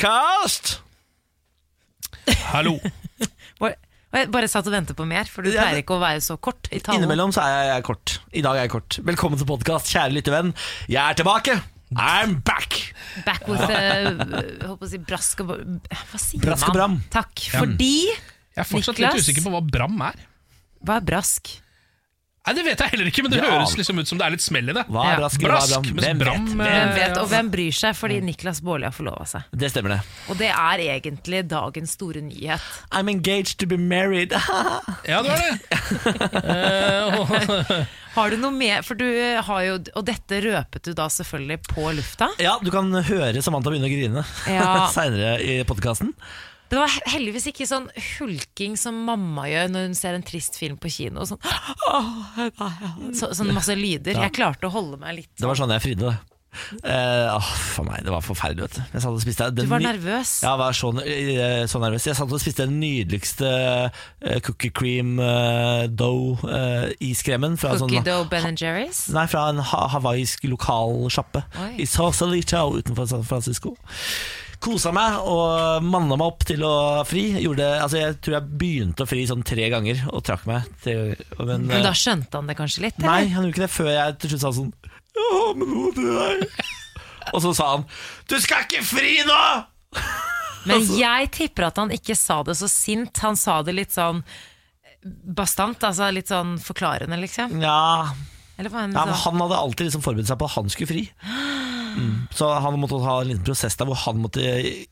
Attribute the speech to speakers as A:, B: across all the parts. A: podkast! Hallo.
B: Bare, jeg bare satt og ventet på mer, for du
A: Ja,
B: pleier
A: det-
B: ikke å være så kort i talen.
A: Innimellom så er jeg, jeg er kort. I dag er jeg kort. Velkommen til podkast, kjære lyttevenn. Jeg er tilbake! I'm back!
B: Back with eh, jeg holdt på å si brask og Hva sier
A: Brask og
B: man?
A: bram.
B: Takk. Fordi
C: Jeg er fortsatt
B: Niklas?
C: litt usikker på hva bram er.
B: Hva er brask?
C: Nei, Det vet jeg heller ikke, men det
A: Ja.
C: høres liksom ut som det er litt smell i det.
A: Hva
B: Ja.
A: er brask?
C: Brask,
A: Hva er bram?
C: mens
A: Hvem vet?
C: bram, eh,
A: Hvem?
B: Hvem vet, og hvem bryr seg?
A: Mm.
B: Fordi Niklas Baarli har forlova seg.
A: Det stemmer, det.
B: Og det er egentlig dagens store nyhet.
A: I'm engaged to be married.
C: Ja, det var det. Eh, og-
B: Har du noe mer? For du eh, har jo Og dette røpet du da selvfølgelig på lufta.
A: ja, du kan høre Samantha begynne å grine
B: Ja.
A: seinere i podkasten.
B: Det var heldigvis ikke sånn hulking som mamma gjør når hun ser en trist film på kino. Sånn, så, sånn masse lyder. Jeg klarte å holde meg litt.
A: Det var sånn jeg fridde. det. Eh, åh, for meg, Det var forferdelig. vet du Jeg satt og spiste den
B: Du var
A: ny-
B: nervøs.
A: Ja, jeg var så, eh, så nervøs. Jeg satt og spiste den nydeligste eh, cookie cream eh, dough-iskremen. fra
B: Cookie
A: sånn,
B: dough Ben Jerry's.
A: Nei, fra en ha hawaiisk lokal sjappe
B: Oi.
A: i Sausalito utenfor San Francisco. Kosa meg og manna meg opp til å fri. Gjorde, altså jeg tror jeg begynte å fri sånn tre ganger og trakk meg. Tre, men, eh,
B: Men da skjønte han det kanskje litt?
A: Nei,
B: Eller?
A: han gjorde ikke det før jeg til slutt sa sånn Jeg har med noe til deg. Og så sa han Du skal ikke fri nå!
B: Men
A: altså-
B: jeg tipper at han ikke sa det så sint. Han sa det litt sånn bastant, altså litt sånn forklarende, liksom.
A: Ja,
B: Eller hva
A: ja
B: enn
A: men
B: det sa.
A: Han hadde alltid liksom forberedt seg på at han skulle fri. Mm. Så han måtte ha en liten prosess der hvor han måtte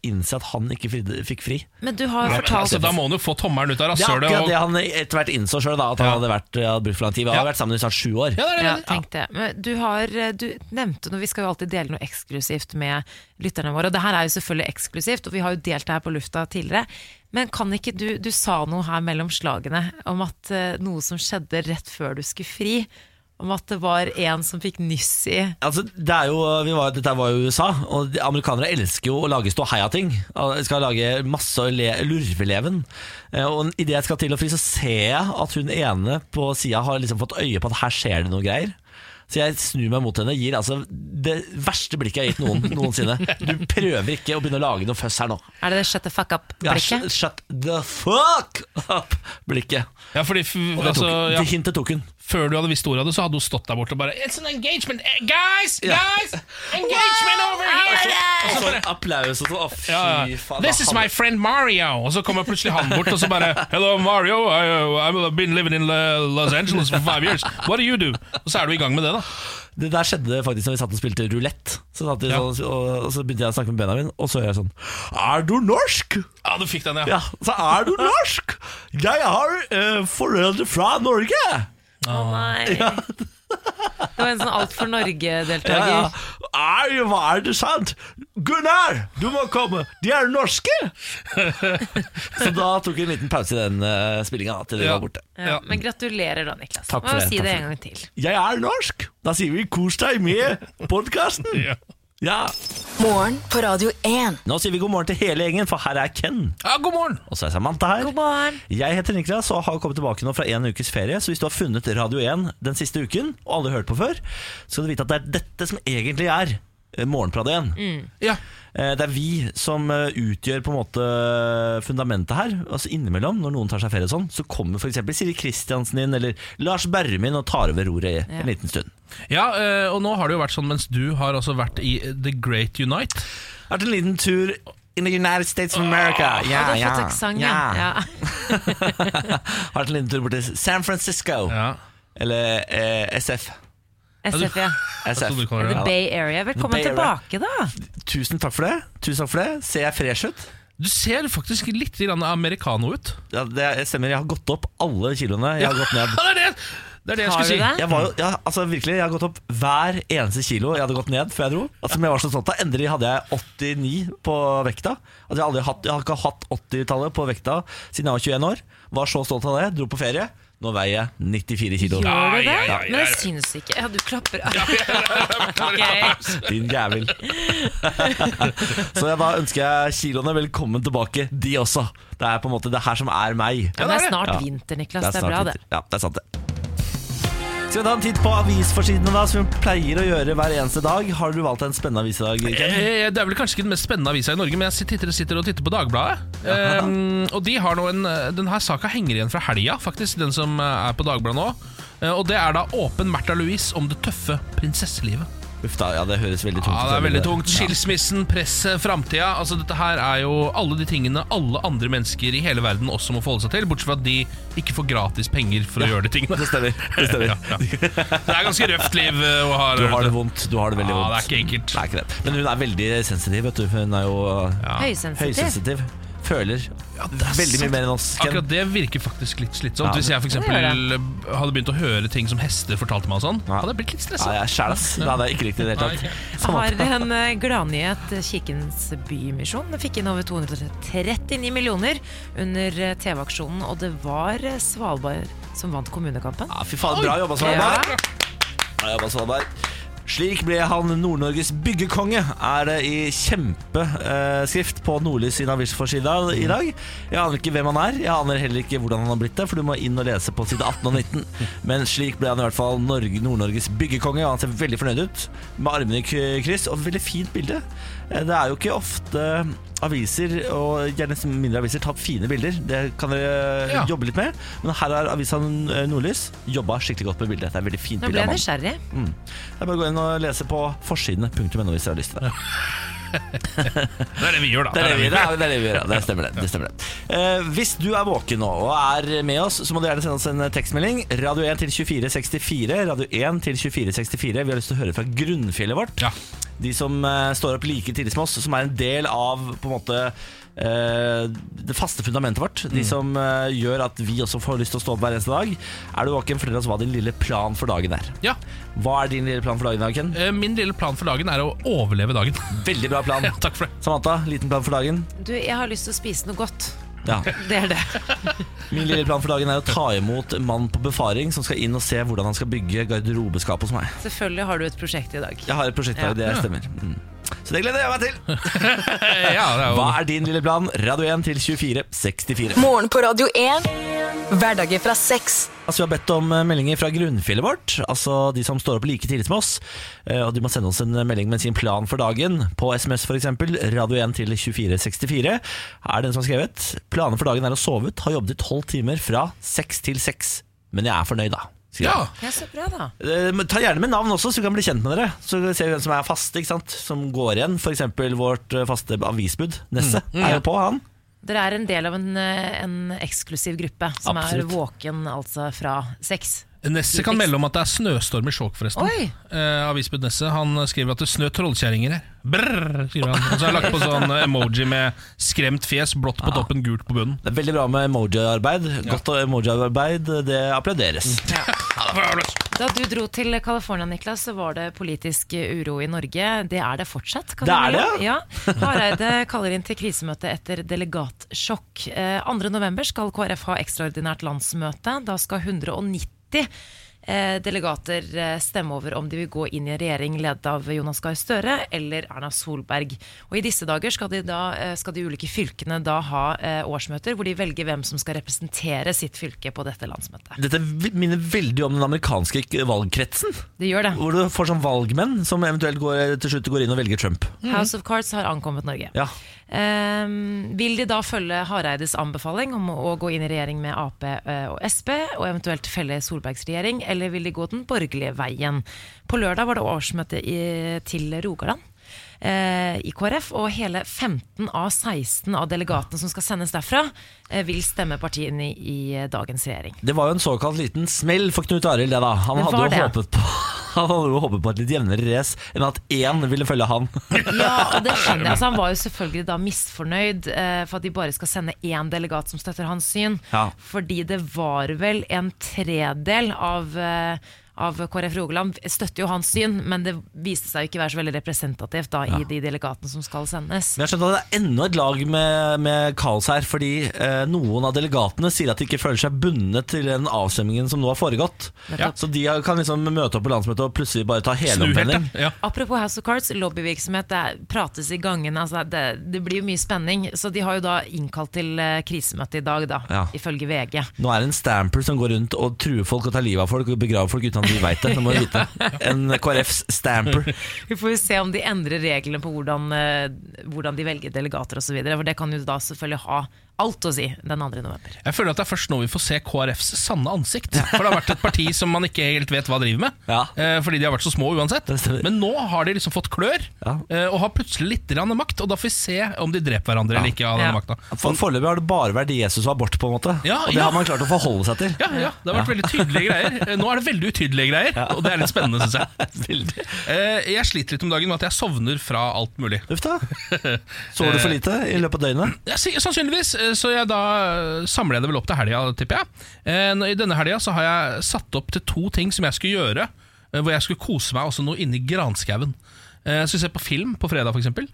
A: innse at han ikke fridde, fikk fri.
B: Men du har
C: Men
B: fortalt
C: altså, da må han jo få tommelen ut
A: Det er
C: av rasshølet.
A: akkurat
C: og-
A: det han etter hvert innså sjøl, at han
C: Ja.
A: hadde, vært, eh, hadde brukt for lang tid. Vi har
C: Ja.
A: vært sammen i snart sju år.
C: Ja, det er det.
B: Ja, tenk det. Men du, har, eh, du nevnte noe, vi skal jo alltid dele noe eksklusivt med lytterne våre. Og det her er jo selvfølgelig eksklusivt, og vi har jo delt det her på lufta tidligere. Men kan ikke du Du sa noe her mellom slagene om at eh, noe som skjedde rett før du skulle fri. Om at det var en som fikk nyss i
A: Altså, det er jo, vi var, dette var jo i USA, og de amerikanere elsker jo å lage ståhei av ting. Og Skal lage masse og le, lurveleven. Eh, Og idet jeg skal til å fri, så ser jeg at hun ene på sida har liksom fått øye på at her skjer det noe greier. Så jeg snur meg mot henne gir altså det verste blikket jeg har gitt noen noensinne. Du prøver ikke å begynne å lage noe føss her nå.
B: Er det det shut the fuck
A: Ja, shut,
B: up-blikket?
A: shut the fuck up-blikket.
C: Ja, fordi f
A: Og det,
C: altså,
A: tok,
C: ja,
A: det hintet tok hun.
C: Før du hadde visst ordet av det, så hadde hun stått der borte og bare It's an engagement! Eh, Guys! Guys! Engagement over
B: Ah,
C: here!
A: Og så applaus og sånn. Å, fy
C: Ja, ja.
A: faen.
C: This
A: da
C: is
A: hadde-
C: my friend Mario! Og så kommer plutselig han bort og så bare Hello, Mario. I, uh, I've been living in uh, Los Angeles for five years. What do you do? Og så er du i gang med det, da.
A: Det der skjedde faktisk når vi satt og spilte rulett. Så satt vi
C: Ja.
A: sånn, og, og så begynte jeg å snakke med Benjamin, og så gjør jeg sånn Er du norsk?
C: Ja, du fikk den, ja.
A: Ja, så er du norsk? Jeg har eh, foreldre fra Norge!
B: Å
A: Ah.
B: nei. Det var en sånn Alt for
A: Ja, ja.
B: Norge-deltaker.
A: Er, hva er det sant? Gunnar, du må komme! De er norske! så da tok vi en liten pause i den uh, spillinga til de
C: Ja.
A: var borte.
B: Ja, men gratulerer da, Niklas.
A: Takk
B: Må
A: for
B: jo
A: det,
B: si
A: takk
B: det
A: for
B: en gang til.
A: Jeg er norsk! Da sier vi kos deg med podkasten!
C: Ja.
A: Ja.
D: Morgen på Radio 1.
A: Nå sier vi god morgen til hele gjengen, for her er Ken.
C: Ja, god morgen!
A: Og så er Samantha her.
B: God morgen.
A: Jeg heter Niklas og har kommet tilbake nå fra en ukes ferie. Så hvis du har funnet Radio 1 den siste uken, og aldri hørt på før, så skal du vite at det er dette som egentlig er eh, morgen på Radio 1.
B: Mm.
C: Ja.
A: Eh, Det er vi som eh, utgjør på en måte eh, fundamentet her. Altså Innimellom, når noen tar seg ferie, og sånn, så kommer f.eks. Siri Kristiansen inn eller Lars Berrum inn og tar over roret i en liten stund.
C: ja, eh, og nå har det jo vært sånn mens du har altså vært i eh, The Great Unite.
A: Det har vært en liten tur in the United States of America. Ja,
B: Du har fått aksent, ja. ja.
A: Har vært en liten tur bort til San Francisco.
C: Ja.
A: Eller eh, SF.
B: SF, ja.
C: Jeg
A: SF.
C: trodde du kaller
B: The
C: det.
B: Bay Area. Velkommen
A: Bay Area.
B: tilbake, da.
A: Tusen takk for det. Tusen takk for det Ser jeg fresh ut?
C: Du ser faktisk litt grann americano ut.
A: Ja, det stemmer. Jeg har gått opp alle kiloene. Jeg har gått ned
C: Ja, det er det, det, er det jeg
B: Har
C: skulle
B: du
C: si.
B: det?
A: jeg var jo, ja, altså virkelig, jeg har gått opp hver eneste kilo jeg hadde gått ned før jeg dro. Altså, men jeg var så stolt av Endelig hadde jeg 89 på vekta. Altså, jeg, har aldri hatt, jeg har ikke hatt 80-tallet på vekta siden jeg var 21 år. Var så stolt av det. Dro på ferie. Nå veier jeg 94 kilo.
B: Gjør
C: Ja,
B: du det?
C: ja, ja, ja,
B: Men jeg
C: ja.
B: syns ikke Ja, du klapper. Ok.
A: Din jævel. så jeg, da ønsker jeg kiloene velkommen tilbake, de også. Det er på en måte det her som er meg.
B: Ja, men det er
C: det.
B: snart
A: Ja.
B: vinter, Niklas. Det er
A: snart
B: bra, det.
A: vinter. Ja, det er sant det. Skal vi ta en titt på avisforsidene, da, som vi pleier å gjøre hver eneste dag? Har du valgt en spennende avis i dag? Ken?
C: Eh, Det er vel kanskje ikke den mest spennende avisa i Norge, men jeg sitter, sitter og titter på Dagbladet. Ehm, og de har nå en Denne saka henger igjen fra helga, faktisk, den som er på Dagbladet nå. Eh, Og det er da Åpen Märtha Louise om det tøffe prinsesselivet.
A: Uff da, ja, det høres veldig tungt ut.
C: Ja, det er veldig tungt. Skilsmissen, presset, framtida. Altså, dette her er jo alle de tingene alle andre mennesker i hele verden også må forholde seg til, bortsett fra at de ikke får gratis penger for å gjøre de tingene.
A: Det stemmer. Det stemmer.
C: Ja, ja. Det er ganske røft liv eh, å ha.
A: Du har det vondt. Du har det veldig
C: Ja,
A: vondt.
C: det er ikke enkelt.
A: Det er ikke det. Men hun er veldig sensitiv, vet du. Hun er jo eh,
C: Ja.
B: Høysensitiv.
A: høysensitiv. Føler veldig mye mer enn oss. Ken.
C: Akkurat det virker faktisk litt
A: Ja,
C: slitsomt.
A: det-
C: Hvis jeg for eksempel
B: Det gjør
C: hadde begynt å høre ting som hester fortalte meg, og sånn,
A: Ja.
C: hadde jeg blitt litt
A: Ja,
C: stressa.
A: jeg er sjæl, ass. Det hadde jeg ikke likt i det hele
C: Nei,
A: tatt.
B: Jeg har en eh, gladnyhet. Kirkens Bymisjon fikk inn over 239 millioner under eh, TV-aksjonen, og det var eh, Svalbard som vant kommunekampen.
A: Ja, fy faen, bra jobba, Svalbard. Bra jobba, Svalbard. Slik ble han Nord-Norges byggekonge, er det i kjempeskrift på Nordlys sin avisforside i dag. Jeg aner ikke hvem han er, jeg aner heller ikke hvordan han har blitt det, for du må inn og lese på side 18 og 19. Men slik ble han i hvert fall Norge- Nord-Norges byggekonge, og han ser veldig fornøyd ut. Med armene i k- kryss, og et veldig fint bilde. Eh, Det er jo ikke ofte aviser, og gjerne mindre aviser, tar fine bilder. Det kan dere eh,
C: Ja.
A: jobbe litt med. Men her har avisa Nordlys jobba skikkelig godt med bildet. Det er et veldig fint
B: Nå
A: bilde
B: ble
A: av mannen.
B: jeg nysgjerrig.
A: Det er Mm. bare å gå inn og lese på forsidene.no hvis dere har lyst til det.
C: Det er det vi gjør, da.
A: Det er det vi gjør. ja, Det, er det, vi gjør, ja. det stemmer, det. det, stemmer det. Eh, hvis du er våken nå og er med oss, så må du gjerne sende oss en eh, tekstmelding. Radio 1 til 2464. Radio 1 til 2464. Vi har lyst til å høre fra grunnfjellet vårt.
C: Ja.
A: De som eh, står opp like tidlig som oss, som er en del av på en måte eh, det faste fundamentet vårt. De som eh, gjør at vi også får lyst til å stå opp hver eneste dag. Er du våken, fortell oss hva din lille plan for dagen er.
C: Ja.
A: Hva er din lille plan for dagen, i dag, Ken?
C: Eh, Min lille plan for dagen er å overleve dagen.
A: Veldig bra plan.
C: Ja, Takk for det.
A: Samantha, liten plan for dagen.
B: Du, jeg har lyst til å spise noe godt.
A: Ja.
B: Det er det.
A: Min lille plan for dagen er å ta imot en mann på befaring som skal inn og se hvordan han skal bygge garderobeskap hos meg.
B: Selvfølgelig har du et prosjekt i dag.
A: Jeg har et prosjekt der, det stemmer. Mm. Så det gleder jeg meg til.
C: Eh, Ja, det er jo
A: Hva er din lille plan? Radio 1 til 2464.
D: Morgen på Radio 1. Hverdager fra seks.
A: Altså, vi har bedt om eh, meldinger fra grunnfjellet vårt, altså de som står opp like tidlig som oss. Eh, Og de må sende oss en melding med sin plan for dagen, på SMS f.eks. Radio 1 til 2464 er den som har skrevet. Planen for dagen er å sove ut, har jobbet i tolv timer fra seks til seks. Men jeg er fornøyd, da. sier
C: Ja.
A: han.
B: Ja, så bra da.
A: Eh, men Ta gjerne med navn også, så vi kan bli kjent med dere. Så ser vi hvem som er faste, ikke sant? som går igjen. F.eks. vårt eh, faste avisbud, Nesse,
B: Mm.
A: er jo på, han.
B: Dere er en del av en, eh, en eksklusiv gruppe som
A: Absolutt.
B: er våken altså fra seks.
C: Nesse kan melde om at det er snøstorm i Skjåk, forresten.
B: Oi.
C: Eh, Avisbud Nesse han skriver at det snør trollkjerringer her. Brrr, skriver han. Og så har jeg lagt på sånn emoji med skremt fjes, blått på toppen, gult på bunnen.
A: Det er veldig bra med emoji-arbeid. Godt emoji-arbeid, det applauderes.
B: Mm. Da du dro til California, Niklas, så var det politisk uro i Norge. Det er det fortsatt. kan
A: Det
B: vi
A: er
B: melde
A: det,
B: om. Ja. Hareide kaller inn til krisemøte etter delegatsjokk. Eh, 2. november skal KrF ha ekstraordinært landsmøte. Da skal 190 eh, delegater eh, stemme over om de vil gå inn i en regjering ledet av Jonas Gahr Støre eller Erna Solberg. Og I disse dager skal de, da, eh, skal de ulike fylkene da ha eh, årsmøter hvor de velger hvem som skal representere sitt fylke på dette landsmøtet.
A: Dette minner veldig om den amerikanske valgkretsen.
B: Det gjør det.
A: Hvor du får sånn valgmenn som eventuelt går, eh, til slutt går inn og velger Trump.
B: House of Cards har ankommet Norge.
A: Ja.
B: Ehm, vil de da følge Hareides anbefaling om å gå inn i regjering med Ap eh, og Sp, og eventuelt felle Solbergs regjering, eller vil de gå den borgerlige veien? På lørdag var det årsmøte i, til Rogaland eh, i KrF, og hele 15 av 16 av delegatene som skal sendes derfra, eh, vil stemme partiene i, i dagens regjering.
A: Det var jo en såkalt liten smell for Knut Arild, det da. Han
B: Det
A: hadde,
B: var
A: jo
B: det.
A: håpet på, han hadde jo håpet på et litt jevnere race enn at én ville følge han.
B: Ja, og det skjønner jeg. Altså, han var jo selvfølgelig da misfornøyd eh, for at de bare skal sende én delegat som støtter hans syn.
A: Ja.
B: Fordi det var vel en tredel av eh, av KrF Rogaland støtter jo hans syn, men det viste seg jo ikke være så veldig representativt da, i de delegatene som skal sendes.
A: Men jeg skjønte at det er enda et lag med, med kaos her, fordi eh, noen av delegatene sier at de ikke føler seg bundet til den avstemmingen som nå har foregått.
B: Nettopp.
A: Så de har- kan liksom møte opp på landsmøtet og plutselig bare ta
C: Snu helt,
A: helomvending.
C: ja. ja.
B: Apropos House of Cards, lobbyvirksomhet, det er- prates i gangene. Altså det, det blir jo mye spenning. Så de har jo da innkalt til eh, krisemøte i dag, da,
A: Ja.
B: ifølge VG.
A: Nå er det en stamper som går rundt og truer folk og tar livet av folk og begraver folk uten vi veit det. Nå må vi vite. En KrFs stamper.
B: Vi får jo se om de endrer reglene på hvordan, eh, hvordan de velger delegater osv. For det kan jo da selvfølgelig ha alt å si den 2. november.
C: Jeg føler at det er først nå vi får se KrFs sanne ansikt. For det har vært et parti som man ikke helt vet hva driver med.
A: Ja.
C: eh, Fordi de har vært så små uansett.
A: Det stemmer.
C: Men nå har de liksom fått klør,
A: Ja.
C: eh, og har plutselig litt grann makt. Og da får vi se om de dreper hverandre eller ikke av denne
B: Ja.
C: makta.
A: For Foreløpig har det bare vært Jesus og abort, på en måte.
C: Ja,
A: og det
C: ja.
A: har man klart å forholde seg til.
C: Ja, ja, det har vært veldig tydelige greier. Eh, Nå er det veldig utydelige greier, og det er litt spennende, syns jeg.
A: Veldig.
C: Eh, Jeg sliter litt om dagen med at jeg sovner fra alt mulig.
A: Uff da. Sover du for lite i løpet av døgnet?
C: Ja, si- sannsynligvis, eh, så jeg da eh, samler jeg det vel opp til helga, tipper jeg. Eh, nå- I denne helga så har jeg satt opp til to ting som jeg skulle gjøre, eh, hvor jeg skulle kose meg også noe inni granskauen. Eh, Jeg skulle se på film på fredag, for eksempel.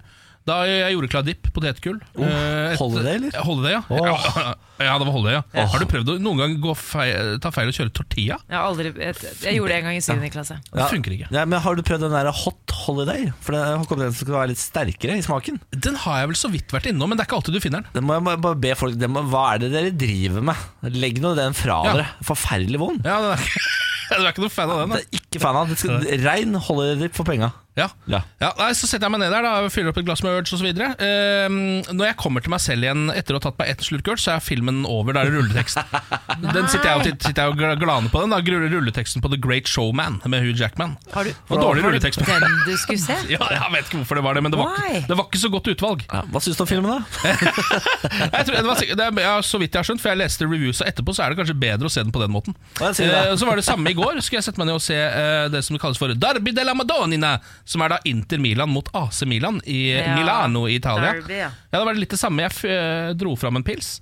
C: Da eh, jeg gjorde klar dipp, potetgull. Eh, et-
A: holiday, Oh, eller?
C: Holiday, ja.
A: Åh.
C: ja. det var holiday, ja. Har du prøvd å noen gang gå feil, ta feil og kjøre tortilla?
B: Jeg, har aldri, jeg, jeg gjorde det en gang i 7. klasse.
C: Det funker ikke.
A: Ja, men Har du prøvd den der hot holiday? For den har kommet en som skal være litt sterkere i smaken.
C: Den har jeg vel så vidt vært innom, men det er ikke alltid du finner den.
A: Det må jeg bare- bare be folk det må, Hva er det dere driver med? Legg nå den fra
C: Ja.
A: dere. Forferdelig vond.
C: Ja, den er ikke, du er ikke noe fan av den? da.
A: Det er ikke fan av. Det skal, rein holiday dip for penga.
C: Ja.
A: Ja.
C: Ja, nei, så setter jeg meg ned der, da, fyller opp et glass med Urge osv. Um, når jeg kommer til meg selv igjen etter å ha tatt meg ett slurk Urge, så er filmen over. Da er det rulletekst. den sitter jeg, og, sitter jeg og gl- glaner på den. Da gruller rulleteksten på The Great Showman med Hugh Jackman.
B: Har du,
C: Og dårlig
B: var det
C: rulletekst.
B: Den du skulle se?
C: Ja, jeg vet ikke hvorfor det var det, men det var,
B: Why?
C: ikke, det var ikke så godt utvalg.
A: Ja, hva syns du om filmen, da?
C: Jeg tror, det var, sikkert- det er, ja, så vidt jeg har skjønt, for jeg leste reviews, og etterpå så er det kanskje bedre å se den på den måten.
A: Ja, sier du det?
C: Eh, så var det samme i går. Skulle jeg sette meg ned og se eh, det som kalles for Derby della Madonnina, som er da Inter Milan mot AC Milan i
B: Ja,
C: Milano i Italia.
B: derby, ja.
C: Ja, det var litt det samme. Jeg f eh, dro fram en pils.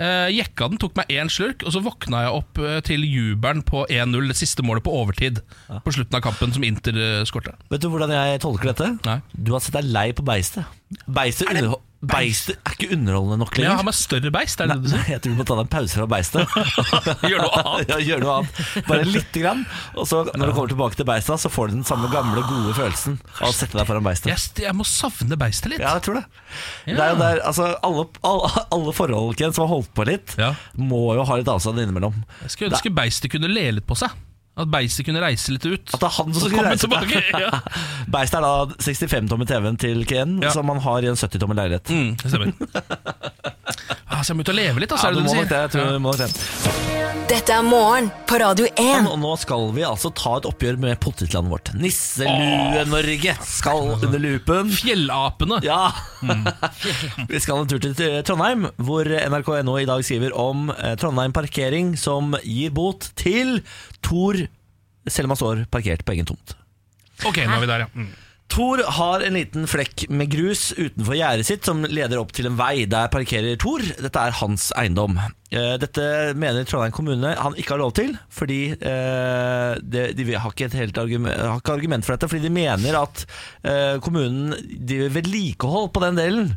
C: eh, jekka den, tok meg én slurk, og så våkna jeg opp eh, til jubelen på 1-0, det siste målet på overtid, på slutten av kampen som Inter uh, skårte.
A: Vet du hvordan jeg tolker dette?
C: Nei.
A: Du har sett deg lei på beistet. Beistet underho- beistet er ikke underholdende nok
C: Men jeg
A: lenger.
C: har med større beist, er det
A: Nei,
C: det du sier?
A: nei, jeg tror du må ta deg en pause fra beistet.
C: Gjør noe annet.
A: ja, gjør noe annet. Bare lite grann. Og så når du kommer tilbake til beista, så får du den samme gamle, gode følelsen av å sette deg foran beistet.
C: Jeg, st- jeg må savne beistet litt.
A: Ja, jeg tror det. Det er jo der, altså, alle, alle, alle forhold Ken, som har holdt på litt,
C: Ja.
A: må jo ha litt avstand innimellom.
C: Jeg skulle ønske beistet kunne le litt på seg. At beistet kunne reise litt ut.
A: At det er han som skal
C: Komme
A: reise seg.
C: tilbake! Ja.
A: Beistet er da 65-tommer TV-en til Ken,
C: Ja.
A: som man har i en 70-tommer leilighet.
C: Mm, det stemmer. Ah, så jeg må ut og leve litt, altså,
A: Ja,
C: er
A: du
C: det
A: må
C: det
A: nok
C: du
A: det,
C: sier?
A: jeg tror du må nok det.
D: Dette er morgen på Radio 1.
A: Og nå skal vi altså ta et oppgjør med potetlandet vårt. Nisselue-Norge skal under lupen.
C: Fjellapene!
A: Ja! Vi skal en tur til eh, Trondheim, hvor NRK.no i dag skriver om eh, Trondheim parkering som gir bot til Tor, selv om han står parkert på egen tomt.
C: Ok, nå er vi der, ja. Mm.
A: Tor har en liten flekk med grus utenfor gjerdet sitt som leder opp til en vei. Der parkerer Tor. Dette er hans eiendom. Eh, Dette mener Trondheim kommune han ikke har lov til, fordi eh, det- de har ikke et helt argument, har ikke argument for dette. Fordi de mener at eh, kommunen driver vedlikehold på den delen.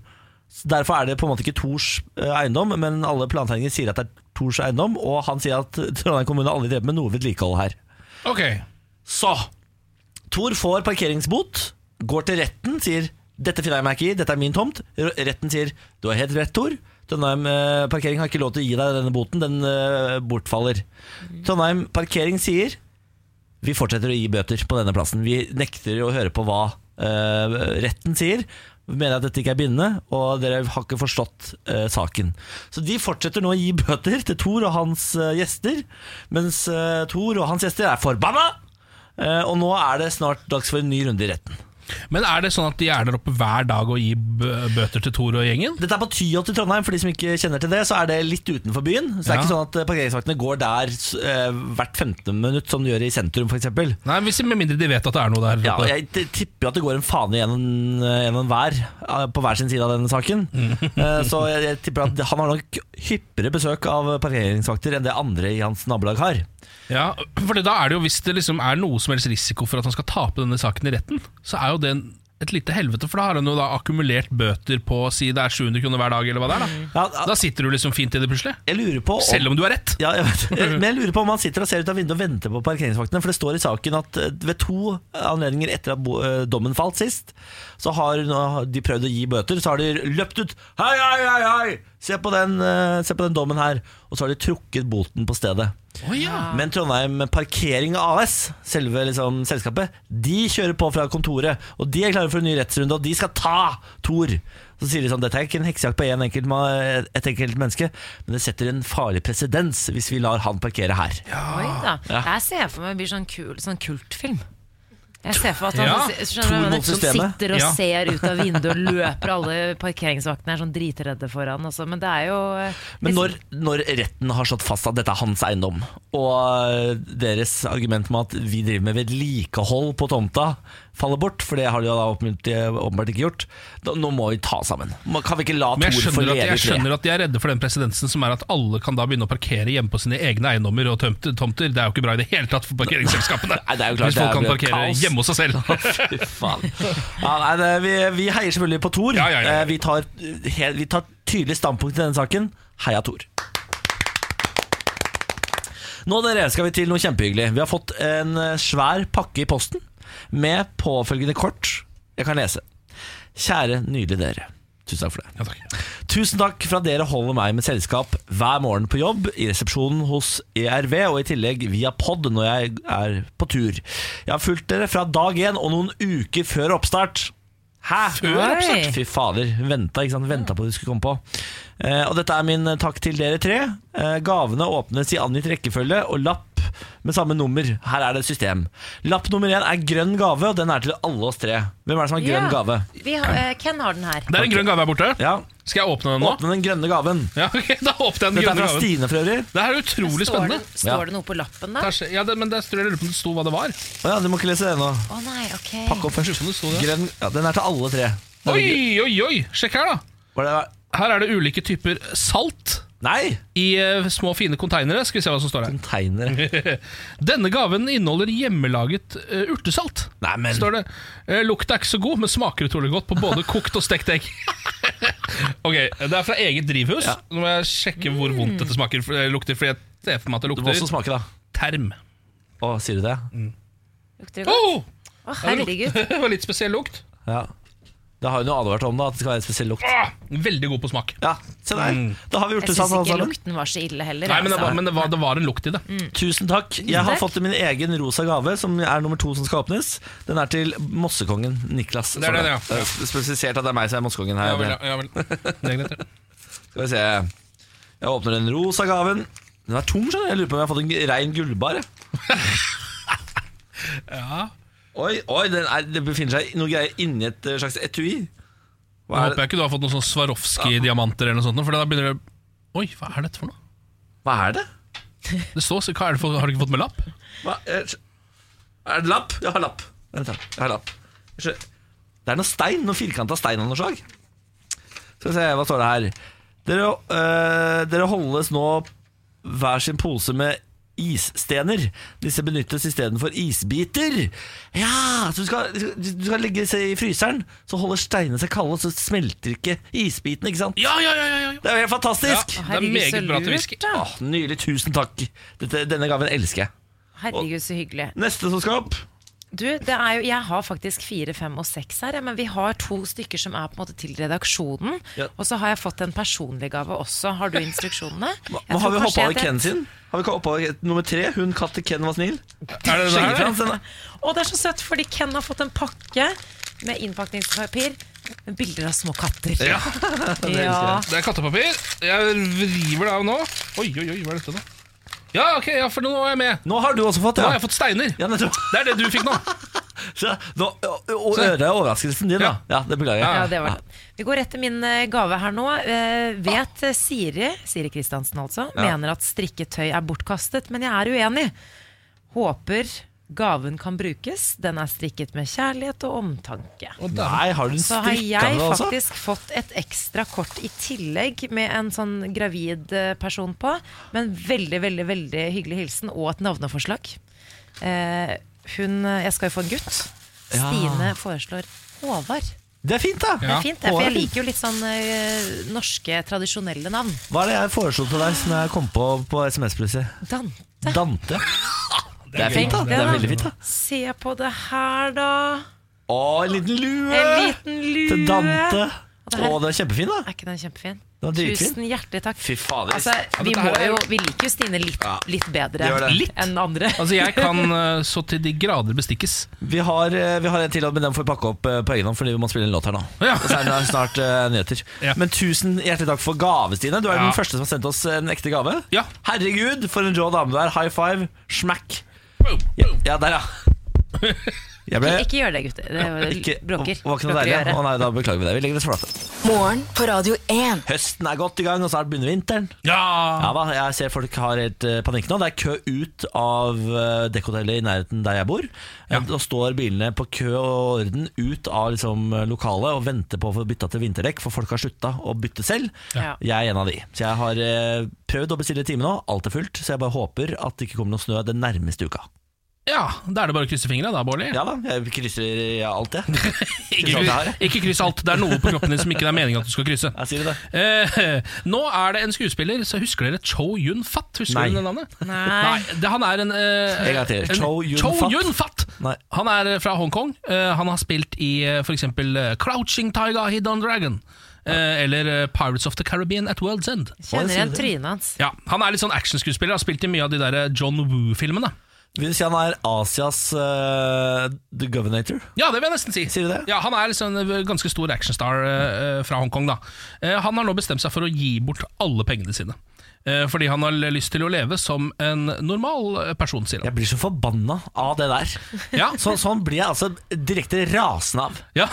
A: Så Derfor er det på en måte ikke Tors eh, eiendom, men alle plantegninger sier at det er Tors eiendom, og han sier at Trondheim kommune aldri drev med noe vedlikehold her.
C: Ok,
A: Så Tor får parkeringsbot, går til retten, sier dette finner jeg meg ikke i, dette er min tomt. Retten sier du har helt rett, Tor. Trondheim eh, parkering har ikke lov til å gi deg denne boten, den eh, bortfaller. Trondheim parkering sier vi fortsetter å gi bøter på denne plassen. Vi nekter å høre på hva eh, retten sier. Vi mener at dette ikke er bindende, og dere har ikke forstått eh, saken. Så de fortsetter nå å gi bøter til Thor og hans eh, gjester, mens uh, Thor og hans gjester er forbanna! Eh, og nå er det snart dags for en ny runde i retten.
C: Men er det sånn at de er der oppe hver dag og gir bø- bøter til Tor og gjengen?
A: Dette er på Tyholt i Trondheim, for de som ikke kjenner til det, så er det litt utenfor byen. Så det er
C: Ja.
A: ikke sånn at eh, parkeringsvaktene går der eh, hvert 15. minutt, som de gjør i sentrum, f.eks.
C: Nei, hvis, Med mindre de vet at det er noe der.
A: Ja, og
C: oppe.
A: jeg t- tipper jo at det går en fane gjennom, gjennom hver eh, på hver sin side av denne saken. Eh, Så jeg, jeg tipper at han har nok hyppigere besøk av parkeringsvakter enn det andre i hans nabolag har.
C: ja, for da er det jo Hvis det liksom er noe som helst risiko for at han skal tape denne saken i retten, så er jo det en, et lite helvete, for da har han jo da akkumulert bøter på si det er 700 kroner hver dag, eller hva det er. da
A: Ja,
C: Da sitter du liksom fint i det plutselig.
A: jeg lurer på om,
C: Selv om du har rett.
A: ja, jeg vet, Men jeg lurer på om han sitter og ser ut av vinduet og venter på parkeringsvaktene. For det står i saken at eh, ved to anledninger etter at bo- eh, dommen falt sist, så har nå har de prøvd å gi bøter. Så har de løpt ut Hei, hei, hei, hei! Se på den, eh, se på den dommen her. Og så har de trukket boten på stedet.
C: Å ja.
A: Men Trondheim Parkering AS, selve liksom, selskapet, de kjører på fra kontoret. Og de er klare for en ny rettsrunde, og de skal ta Tor. Så sier de sånn, dette er ikke en heksejakt på en enkelt, ma- et enkelt menneske, men det setter en farlig presedens hvis vi lar han parkere her.
B: Oi da. Jeg ser for meg det blir sånn kul sånn kultfilm. Jeg ser for at han
C: Ja,
B: skjønner du hva jeg
A: Tor
B: mener?
A: mot
B: Som
A: systemet.
B: sitter og
C: Ja.
B: ser ut av vinduet og løper, alle parkeringsvaktene er sånn dritredde for han. Altså. Men det er jo eh,
A: Men
B: liksom-
A: når, når retten har slått fast at dette er hans eiendom, og øh, deres argument med at vi driver med vedlikehold på tomta, faller bort, for det har de jo da åpenbart, åpenbart ikke gjort, da, nå må vi ta sammen. Man- Kan vi ikke la
C: Men jeg
A: Tor få
C: skjønner,
A: leve
C: at,
A: i
C: jeg
A: fred?
C: skjønner at de er redde for den presedensen som er at alle kan da begynne å parkere hjemme på sine egne eiendommer og tømte, tomter. Det er jo ikke bra i det hele tatt for parkeringsselskapene.
A: Nei, det er jo klart
C: Hvis folk
A: det
C: kan
A: blir
C: parkere
A: kaos.
C: hjemme hos seg selv.
A: Fy faen. Ja, nei, det, vi, vi heier selvfølgelig på Tor.
C: Ja, ja, ja.
A: Eh, Vi, tar, he- vi tar tydelig standpunkt i denne saken. Heia Tor. Nå dere skal vi til noe kjempehyggelig. Vi har fått en eh, svær pakke i posten med påfølgende kort. Jeg kan lese. Kjære nydelige dere. Tusen takk for det.
C: Ja, takk.
A: Tusen takk for at dere holder meg med selskap hver morgen på jobb, i resepsjonen hos ERV og i tillegg via pod når jeg er på tur. Jeg har fulgt dere fra dag én og noen uker før oppstart. Hæ?
B: Før oppstart?
A: Fy fader. Hun venta, ikke sant? venta på at du skulle komme på. Eh, og dette er min takk til dere tre. Eh, gavene åpnes i angitt rekkefølge og lapp med samme nummer. Her er det et system. Lapp nummer én er grønn gave, og den er til alle oss tre. Hvem er det som har grønn
B: Ja.
A: gave?
B: Vi har, eh, Ken har den her.
C: Det er en grønn gave her borte.
A: Ja,
C: Skal jeg åpne den nå?
A: Åpne den grønne gaven.
C: Ja, ok, da åpner jeg den
A: Dette er
C: grønne
A: fra
C: gaven.
A: Stine for øvrig.
C: Det her er utrolig
B: Står
C: spennende.
B: det, står det noe på lappen da?
C: Kanskje- Ja, det, men det, jeg lurer på om det sto hva det var. Jeg
A: Å ja, du må ikke lese det ennå.
B: Å nei, ok.
A: Pakk opp
C: lurer
A: først.
C: på om det sto det.
A: Grønn, ja, den er til alle tre. Den
C: Oi,
A: er gr-
C: oi, oi! Sjekk her, da.
A: Var det,
C: Her er det ulike typer salt
A: nei!
C: i eh, små, fine konteinere. Skal vi se hva som står her.
A: Containere.
C: Denne gaven inneholder hjemmelaget eh, urtesalt.
A: Nei, men-
C: Står det. Eh, Lukta er ikke så god, men smaker utrolig godt på både kokt og stekt egg. ok, Det er fra eget drivhus. Nå må jeg sjekke hvor vondt dette smaker, for- eh, lukter. Fordi jeg ser for meg at det Mm.
A: Hva som
C: lukter
A: smaker, da?
C: term.
A: Å, sier du det?
B: Lukter det godt?
C: Oh,
B: Å
C: det lukter-
B: herregud.
C: det var litt spesiell lukt.
A: Ja. Det har hun jo advart om, da at det skal være en spesiell lukt.
C: Ah, veldig god på smak.
A: Ja, se der.
C: Mm.
A: Da har vi
B: Jeg
A: gjort det
B: syns
A: sammen. alle
B: ikke
A: sammen.
B: lukten var så ille heller.
C: Nei, men det
B: altså.
C: var, men det var, det var en lukt i det.
A: Tusen takk. Jeg har
B: Takk.
A: fått min egen rosa gave, som er nummer to som skal åpnes. Den er til Mossekongen Niklas.
C: Det er den, ja.
A: Det er Spesifisert at det er meg som er Mossekongen her.
C: Ja vel, ja vel. Det er greit, ja.
A: Skal vi se. Jeg åpner den rosa gaven. Den er tung, skjønner du. Jeg lurer på om jeg har fått en rein gullbar. jeg. Oi, oi, den er, det befinner seg noe greier inni et eh, slags etui.
C: Nå
A: Hva er,
C: håper jeg ikke du har fått noen sånn Swarovski-diamanter eller noe sånt. For da begynner det Oi, hva er dette for noe?
A: hva er det?
C: Det står, så- hva er det for, Har du ikke fått med lapp?
A: Hva er, er det lapp? Jeg har lapp. Vent, da. Jeg har lapp. Jeg skjø- Det er noe stein, noe firkanta stein av noe slag. Skal vi se, hva står det her? Dere, øh, dere holdes nå hver sin pose med isstener. Disse benyttes istedenfor isbiter. Ja, så du skal, du skal legge seg i fryseren, så holder steinene seg kalde, så smelter ikke isbitene, ikke sant?
C: Ja, ja, ja! ja, ja.
A: Det er jo helt
C: ja
A: fantastisk!
C: det er
B: Herregud, så
C: meget bra til whisky.
B: lurt, da.
A: Åh, Nydelig. Tusen takk. Dette, denne gaven elsker jeg.
B: Herregud, så hyggelig.
A: Neste som skal opp.
B: Du, det er jo, jeg har faktisk fire, fem og seks her, ja, men vi har to stykker som er på en måte til redaksjonen.
A: Ja.
B: Og så har jeg fått en personlig gave også. Har du instruksjonene?
A: Hva,
B: Jeg
A: har vi
B: tror kanskje
A: hoppa
B: jeg
A: over
B: det-
A: Ken sin? Har vi ikke hoppa over nummer tre? Hun katt til Ken var snill.
C: Er det det her?
A: Skjegget hans, den
C: eller?
A: er-
B: Å, det er så søtt, fordi Ken har fått en pakke med innpakningspapir med bilder av små katter.
C: Ja,
B: Ja.
C: Det er kattepapir. Jeg river det av nå. Oi, oi, oi, hva er dette, da? Ja, ok, ja, for nå er jeg med.
A: Nå har du også fått det.
C: Nå
A: Ja.
C: har jeg fått steiner.
A: Ja, nettopp.
C: Det er det du fikk nå.
A: Så, nå, og, og øret er overraskelsen din, da. Ja, det beklager jeg.
B: Ja, det var det. Vi går rett til min eh, gave her nå. Eh, vet eh, Siri, Siri Kristiansen altså, mener at strikketøy er bortkastet, men jeg er uenig. Håper gaven kan brukes. Den er strikket med kjærlighet og omtanke.
A: Nei, har du en
B: Så har
A: strikka
B: jeg
A: det også?
B: faktisk fått et ekstra kort i tillegg med en sånn gravid eh, person på. Men veldig, veldig veldig hyggelig hilsen og et navneforslag. Eh, hun, jeg skal jo få en gutt.
A: Ja.
B: Stine foreslår Håvard.
A: Det er fint, da.
B: Det
C: Ja.
B: er fint, det, for jeg
A: Håvard.
B: liker jo litt sånn eh, norske, tradisjonelle navn.
A: Hva er det jeg foreslo til deg som jeg kom på på SMS plutselig?
B: Dante.
A: Dante. Det er fint, da.
B: Tenk
A: Det er
B: da.
A: veldig fint, da.
B: Se på det her, da.
A: Å, en liten lue!
B: Eh, En liten lue.
A: Til Dante.
B: Og Det her,
A: Å, den er kjempefin, da.
B: er ikke den kjempefin?
A: Den er dritfin.
B: Tusen hjertelig takk.
A: Fy fader.
B: Altså,
C: Ja,
B: vi,
C: dette
B: må
C: her er-
B: jo, vi liker jo Stine litt,
A: Ja.
B: litt bedre
A: Gjør det.
C: Litt?
B: enn andre.
C: Altså, jeg kan eh, så til de grader bestikkes.
A: vi, har, eh, vi har en til, men den får vi pakke opp eh, på egen hånd, fordi vi må spille en låt her nå.
C: Ja.
A: Og så er det snart eh, nyheter.
C: Ja.
A: Men tusen hjertelig takk for gave, Stine. Du er
C: Ja.
A: den første som har sendt oss en ekte gave.
C: Ja.
A: Herregud, for en rå dame du er. High five. Smack.
C: Boom,
A: Ja,
C: boom.
A: ja der, ja. Jeg ble
B: Ikke gjør det, gutter. Det er jo-
A: ikke,
B: bråker.
A: Var ikke noe
B: Bråker i
A: deilig?
B: øret.
A: Å nei, da beklager vi det. Vi legger det flate.
D: Morgen på Radio 1.
A: Høsten er godt i gang, og snart begynner vinteren. Ja
C: Ja.
A: da, jeg ser folk har helt eh, panikk nå. Det er kø ut av eh, dekkhotellet i nærheten der jeg bor. Eh, Da står bilene på kø og orden ut av liksom, eh, lokalet og venter på å få bytta til vinterdekk, for folk har slutta å bytte selv.
B: Ja.
A: Jeg er en av de. Så jeg har eh, prøvd å bestille time nå, alt er fullt, så jeg bare håper at det ikke kommer noe snø den nærmeste uka.
C: ja, Da er det bare å krysse fingra, da, Bårli.
A: Ja da, jeg krysser ja, alt, jeg.
C: Ikke,
A: Sånn det er.
C: kryss- ikke kryss alt. Det er noe på kroppen din som ikke det er meningen at du skal krysse.
A: Jeg sier det.
C: Eh, nå er det en skuespiller, så husker dere Cho Yun-fat? Husker
A: Nei.
C: dere det navnet?
B: Nei.
C: det, han er en, eh,
A: En gang til.
C: en-
A: Chow Yun-fat.
C: Chow Yun-fat.
A: Nei.
C: Han er fra Hongkong. Eh, han har spilt i eh, for eksempel eh, Crouching Tiger, Hidden Dragon. Eh, eller eh, Pirates of the Caribbean at World's End.
A: sier
B: Kjenner igjen
A: det.
B: trynet hans.
C: Ja, Han er litt sånn actionskuespiller. Har spilt i mye av de der eh, John Woo-filmene.
A: Vil du si han er Asias eh, the governator?
C: Ja, det vil jeg nesten si.
A: Sier du det?
C: Ja, Han er liksom en ganske stor actionstar eh, eh, fra Hongkong. da Eh, Han har nå bestemt seg for å gi bort alle pengene sine. Eh, fordi han har lyst til å leve som en normal eh, person, sier han.
A: Jeg blir så forbanna av det der.
C: Ja,
A: Så, sånn blir jeg altså direkte rasende av.
C: ja.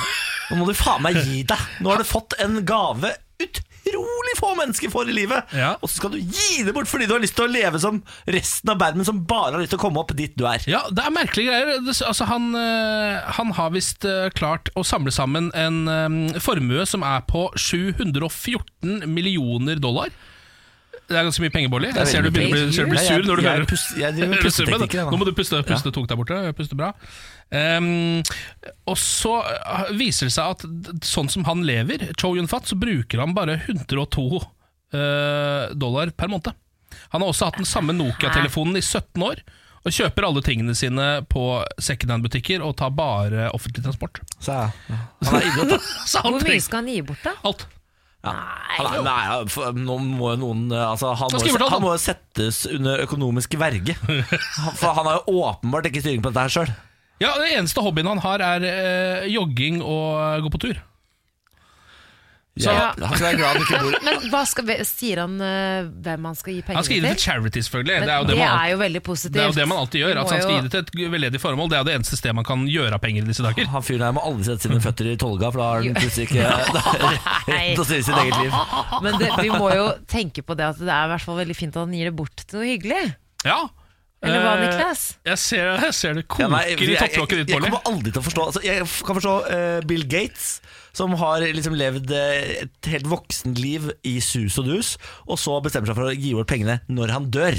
A: Nå må du faen meg gi deg. Nå har du fått en gave utrolig få mennesker får i livet,
C: Ja.
A: og så skal du gi det bort fordi du har lyst til å leve som resten av verden som bare har lyst til å komme opp dit du er.
C: ja det er merkelige greier. Det, altså, han, eh, han har visst eh, klart å samle sammen en eh, formue som er på 714 millioner dollar. Det er ganske mye penger, Bolli. Jeg ser du begynner å bli- ser du blir
A: Jeg- jeg-
C: sur når du
A: jeg
C: hører
A: pust- Jeg driver med
C: Er du sur med det?
A: pusteteknikker. jeg,
C: Nå må
A: nå.
C: du puste, puste tungt der borte. Puste bra. Ehm, og så eh, viser det seg at d- sånn som han lever, Cho Yun-fat, så bruker han bare 102 eh, dollar per måned. Han har også hatt den samme Nokia-telefonen i 17 år. Og kjøper alle tingene sine på secondhand-butikker og tar bare offentlig transport.
A: Så jeg- Han er idiot, da.
C: Så han
B: Hvor mye
C: trenger
B: skal han gi bort, da?
C: alt.
A: Han er, nei, ja, for, nå må jo noen eh, altså, han,
C: Da
A: må,
C: skriver
A: jo-
C: du alt,
A: han
C: da.
A: må jo settes under økonomisk verge. Han- For han har jo åpenbart ikke styring på dette her sjøl.
C: Ja, Den eneste hobbyen han har, er eh, jogging og eh, gå på tur. Så-
A: Ja, han skal være glad han ikke bor
B: Men hva skal, vi- sier han eh, hvem han skal gi
C: Han
B: pengene
C: skal gi det til charity, selvfølgelig.
B: Men
C: det er jo det man alltid
B: jo veldig positivt.
C: Det er jo det man alltid gjør.
B: Må
C: At han skal
B: jo-
C: gi det til et veldedig formål. Det er jo det eneste stedet man kan gjøre av penger i disse dager.
A: Han fyren her må aldri sette sine føtter i Tolga, for da har han plutselig ikke da har han rett til å styre sitt eget liv.
B: Men det, vi må jo tenke på det at det er i hvert fall veldig fint at han gir det bort til noe hyggelig.
C: Ja.
B: Eller hva,
C: Eh,
B: Niklas?
C: Jeg ser, jeg ser det koker
A: Ja, nei,
C: i
A: jeg, jeg,
C: topplokket ditt,
A: jeg
C: Polly.
A: kommer aldri til å forstå altså, Jeg f- kan forstå eh, Bill Gates, som har liksom levd eh, et helt voksenliv i sus og dus, og så bestemmer seg for å gi bort pengene når han dør.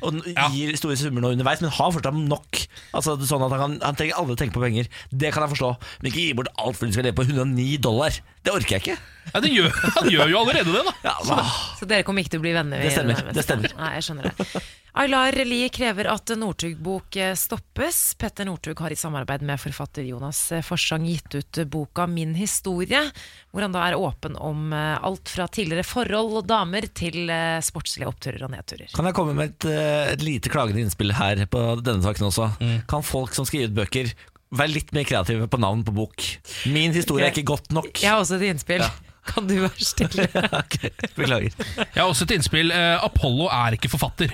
A: Og n-
C: Mm. Ja.
A: gir store summer nå underveis, men har fortsatt nok. Altså, det er sånn at han, kan, han trenger aldri tenke på penger. Det kan jeg forstå, men ikke gi bort alt fordi du skal leve på 109 dollar. Det orker jeg ikke.
C: Ja, det gjør, han gjør jo allerede det, da.
A: Ja, altså. hva?
B: Så dere kommer ikke til å bli venner? i
A: Det stemmer,
B: nærmeste.
A: det stemmer.
B: Nei, jeg skjønner det. Aylar Lie krever at Northug-bok eh, stoppes. Petter Northug har i samarbeid med forfatter Jonas eh, Forsang gitt ut eh, boka Min historie, hvor han da er åpen om eh, alt fra tidligere forhold og damer til eh, sportslige oppturer og nedturer.
A: Kan jeg komme med et, eh, et lite klagende innspill her på denne saken også? Kan folk som skal gi ut bøker, være litt mer kreative på navn på bok? Min historie er
B: Ok.
A: ikke godt nok.
B: Jeg har også et innspill. Kan du være stille?
A: Ok, Beklager.
C: Jeg har også et innspill. Eh, Apollo er ikke forfatter.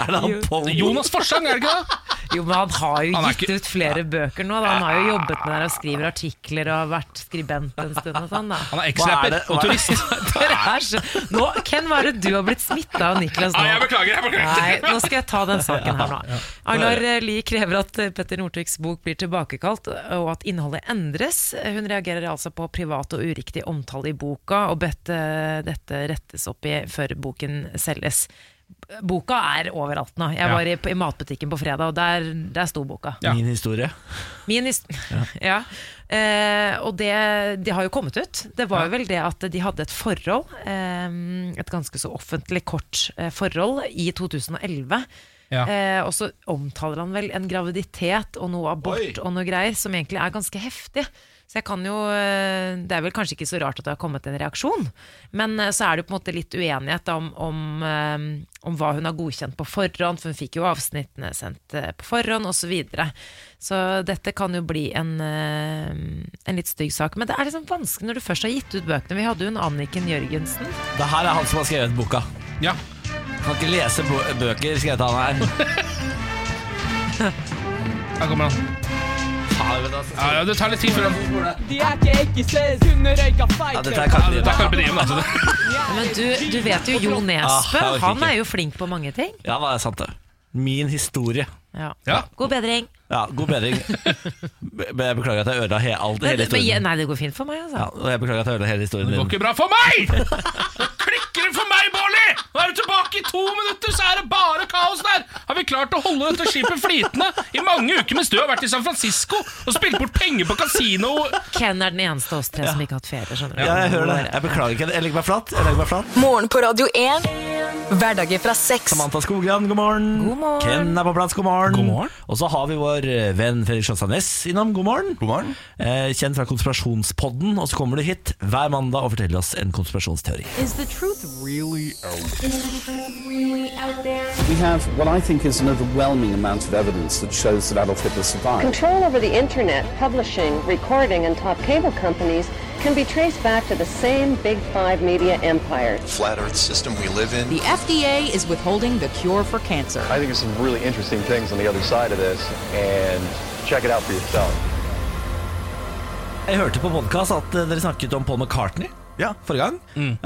A: Er det han
B: Jo.
A: Paul?
C: Jonas Forsang, er det ikke det?
B: Jo, men han har jo
C: Han er
B: gitt
C: ikke-
B: ut flere bøker nå. Da. Han har jo jobbet med det og skriver artikler og vært skribent en stund og sånn. Da.
A: Hva
C: Han er
A: er
C: eksrapper
A: det?
C: og
A: Hva er det?
C: turist.
B: Dere er så... nå, Ken, hva er det du har blitt smitta av Niklas
C: Nei, jeg
B: nå?
C: beklager. jeg beklager
B: Nei, nå skal jeg ta den saken her nå. Aylar Lie krever at eh, Petter Northugs bok blir tilbakekalt, og at innholdet endres. Hun reagerer altså på privat og uriktig omtale i boka, og bedt eh, dette rettes opp i før boken selges. Boka er overalt nå. Jeg
C: Ja.
B: var i, i matbutikken på fredag, og der, der sto boka.
C: Ja.
A: Min historie.
B: Min his- ja. Eh, og det, de har jo kommet ut. Det var jo vel det at de hadde et forhold, eh, et ganske så offentlig kort eh, forhold, i 2011.
C: Ja.
B: Eh, og så omtaler han vel en graviditet og noe abort og noe greier, som egentlig er ganske heftig. Så jeg kan jo eh, Det er vel kanskje ikke så rart at det har kommet en reaksjon, men eh, så er det jo på en måte litt uenighet om, om, eh, om hva hun har godkjent på forhånd, for hun fikk jo avsnittene sendt eh, på forhånd, osv. Så, videre. så dette kan jo bli en, eh, en litt stygg sak. Men det er liksom vanskelig når du først har gitt ut bøkene. Vi hadde jo en Anniken Jørgensen.
A: Det her er han som har skrevet boka.
C: Ja.
A: Kan ikke lese bo bøker, skrev han her.
C: Her kommer han.
A: Faen, vet du, altså.
C: Ja, ja, det tar litt tid før han
E: De er ikke ekkiser, hun røyker
A: Ja,
E: feit.
A: dette er
C: ja,
A: Carpe
C: Det
A: Diem.
C: er Carpe Diem, altså.
B: Men du, du vet jo Jo
A: Ah, jeg
B: Nesbø.
A: orker
B: Han
A: ikke.
B: er jo flink på mange ting.
A: Ja, det er sant, det. Min historie.
B: Ja.
C: Ja.
B: God bedring.
A: Ja, god bedring. Be jeg beklager at jeg ødela he all,
B: Men,
A: hele historien.
B: nei, det går fint for meg, altså.
A: Ja, og jeg beklager at jeg ødela hele historien
C: Det går
A: din.
C: ikke bra for meg! Klikker det for meg, Bårli? Nå er du tilbake i to minutter, så er det bare kaos der! Har vi klart å holde dette skipet flytende i mange uker mens du har vært i San Francisco og spilt bort penger på kasino?
B: Ken er den eneste av oss tre som ikke har hatt ferie. skjønner du?
A: Ja, jeg hører det. Jeg beklager ikke. Jeg legger meg flat. Jeg legger meg flat.
D: Morgen på Radio 1. Hverdager fra seks.
A: Samantha Skogran, god morgen.
B: God morgen.
A: Ken er på plass, god morgen.
C: God morgen.
A: Og så har vi vår eh, venn Fredrik Sjøstad Næss innom, god morgen. God morgen. Eh, kjent fra Konspirasjonspodden, og så kommer du hit hver mandag og forteller oss en konspirasjonsteori.
F: We have what I think is an overwhelming amount of evidence that shows that Adolf Hitler survived.
G: Control over the internet, publishing, recording, and top cable companies can be traced back to the same Big Five media empires.
H: flat earth system we live in.
I: The FDA is withholding the cure for cancer.
J: I think there's some really interesting things on the other side of this, and check it out for yourself.
A: Jeg hørte på podcast at eh, dere snakket om Paul McCartney. Forrige gang.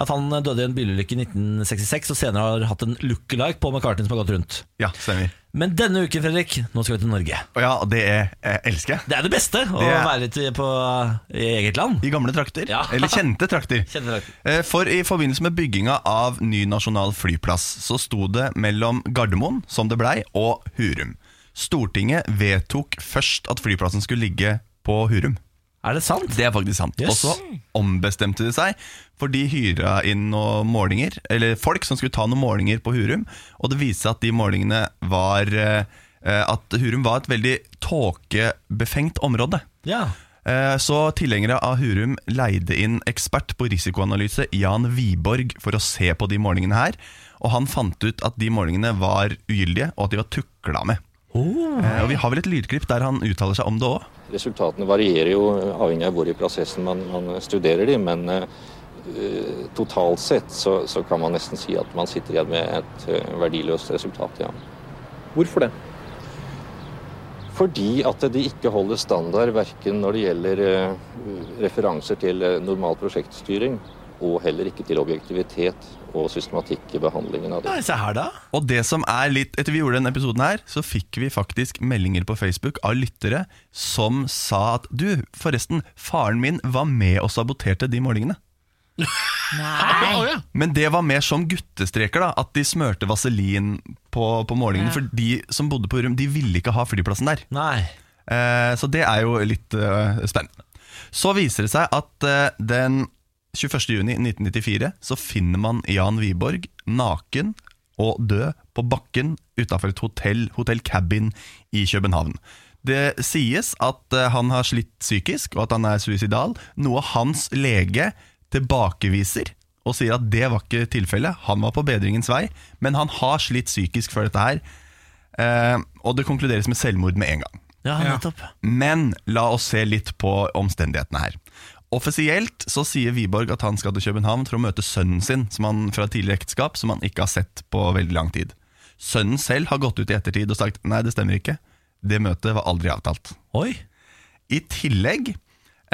A: At han eh, døde i en bilulykke i 1966, og senere har hatt en lookalike Paul McCartney som har gått rundt.
K: Ja, stemmer.
A: Men denne uken, Fredrik, nå skal vi til Norge.
K: Og ja, det er, eh, elsker jeg.
A: Det er det beste å
K: Det er-
A: være litt eh, på, i eget land.
K: I gamle trakter.
A: Ja.
K: Eller kjente trakter.
A: Kjente trakter.
K: Eh, For i forbindelse med bygginga av ny nasjonal flyplass, så sto det mellom Gardermoen, som det blei, og Hurum. Stortinget vedtok først at flyplassen skulle ligge på Hurum.
A: Er det sant?
K: Det er faktisk sant.
A: Yes.
K: Og så ombestemte de seg, for de hyra inn noen målinger, eller folk som skulle ta noen målinger på Hurum, og det viste seg at de målingene var eh, eh, At Hurum var et veldig tåkebefengt område.
A: Ja.
K: Eh, Så tilhengere av Hurum leide inn ekspert på risikoanalyse Jan Wiborg for å se på de målingene her. Og han fant ut at de målingene var ugyldige, og at de var tukla med. Eh, Og vi har vel et lydklipp der han uttaler seg om det òg.
J: Resultatene varierer jo avhengig av hvor i prosessen man, man studerer de, men eh, totalt sett så, så kan man nesten si at man sitter igjen med et eh, verdiløst resultat, ja. Hvorfor det? Fordi at de ikke holder standard verken når det gjelder eh, referanser til eh, normal prosjektstyring, og heller ikke til objektivitet og systematikk i behandlingen av det.
A: Nei, se her, da.
K: Og det som er litt, etter vi gjorde den episoden her, så fikk vi faktisk meldinger på Facebook av lyttere som sa at du, forresten, faren min var med og saboterte de målingene.
C: Ja, å, ja.
K: Men det var mer som guttestreker, da at de smørte vaselin på, på målingene. For de som bodde på Urum, de ville ikke ha flyplassen der.
A: Nei.
K: Eh, så det er jo litt eh, spennende. Så viser det seg at eh, den 21.6.1994 så finner man Jan Wiborg naken og død på bakken utafor et hotell, Hotell Cabin i København. Det sies at eh, han har slitt psykisk, og at han er suicidal, noe hans lege tilbakeviser og sier at det var ikke tilfellet. Han var på bedringens vei, men han har slitt psykisk før dette her. Eh, og det konkluderes med selvmord med en gang.
A: Ja, nettopp.
K: Men la oss se litt på omstendighetene her. Offisielt så sier Wiborg at han skal til København for å møte sønnen sin som han fra tidligere ekteskap som han ikke har sett på veldig lang tid. Sønnen selv har gått ut i ettertid og sagt nei, det stemmer ikke. Det møtet var aldri avtalt.
A: Oi.
K: I tillegg,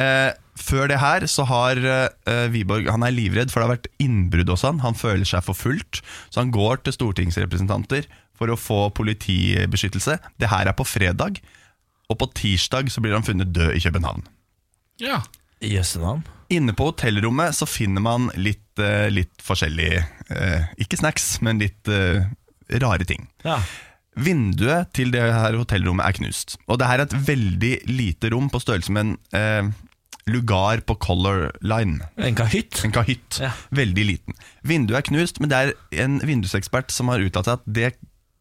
K: eh, før det her, så har eh, Wiborg Han er livredd, for det har vært innbrudd hos han. Han føler seg forfulgt, så han går til stortingsrepresentanter for å få politibeskyttelse. Det her er på fredag, og på tirsdag så blir han funnet død i København.
C: ja.
A: Jøsse navn.
K: Inne på hotellrommet så finner man litt, eh, litt forskjellig eh, Ikke snacks, men litt eh, rare ting.
A: Ja.
K: Vinduet til det her hotellrommet er knust. Og det her er et veldig lite rom på størrelse med en eh, lugar på Color Line.
A: En kahytt.
K: En kahytt.
A: Ja.
K: Veldig liten. Vinduet er knust, men det er en vindusekspert som har uttalt seg at det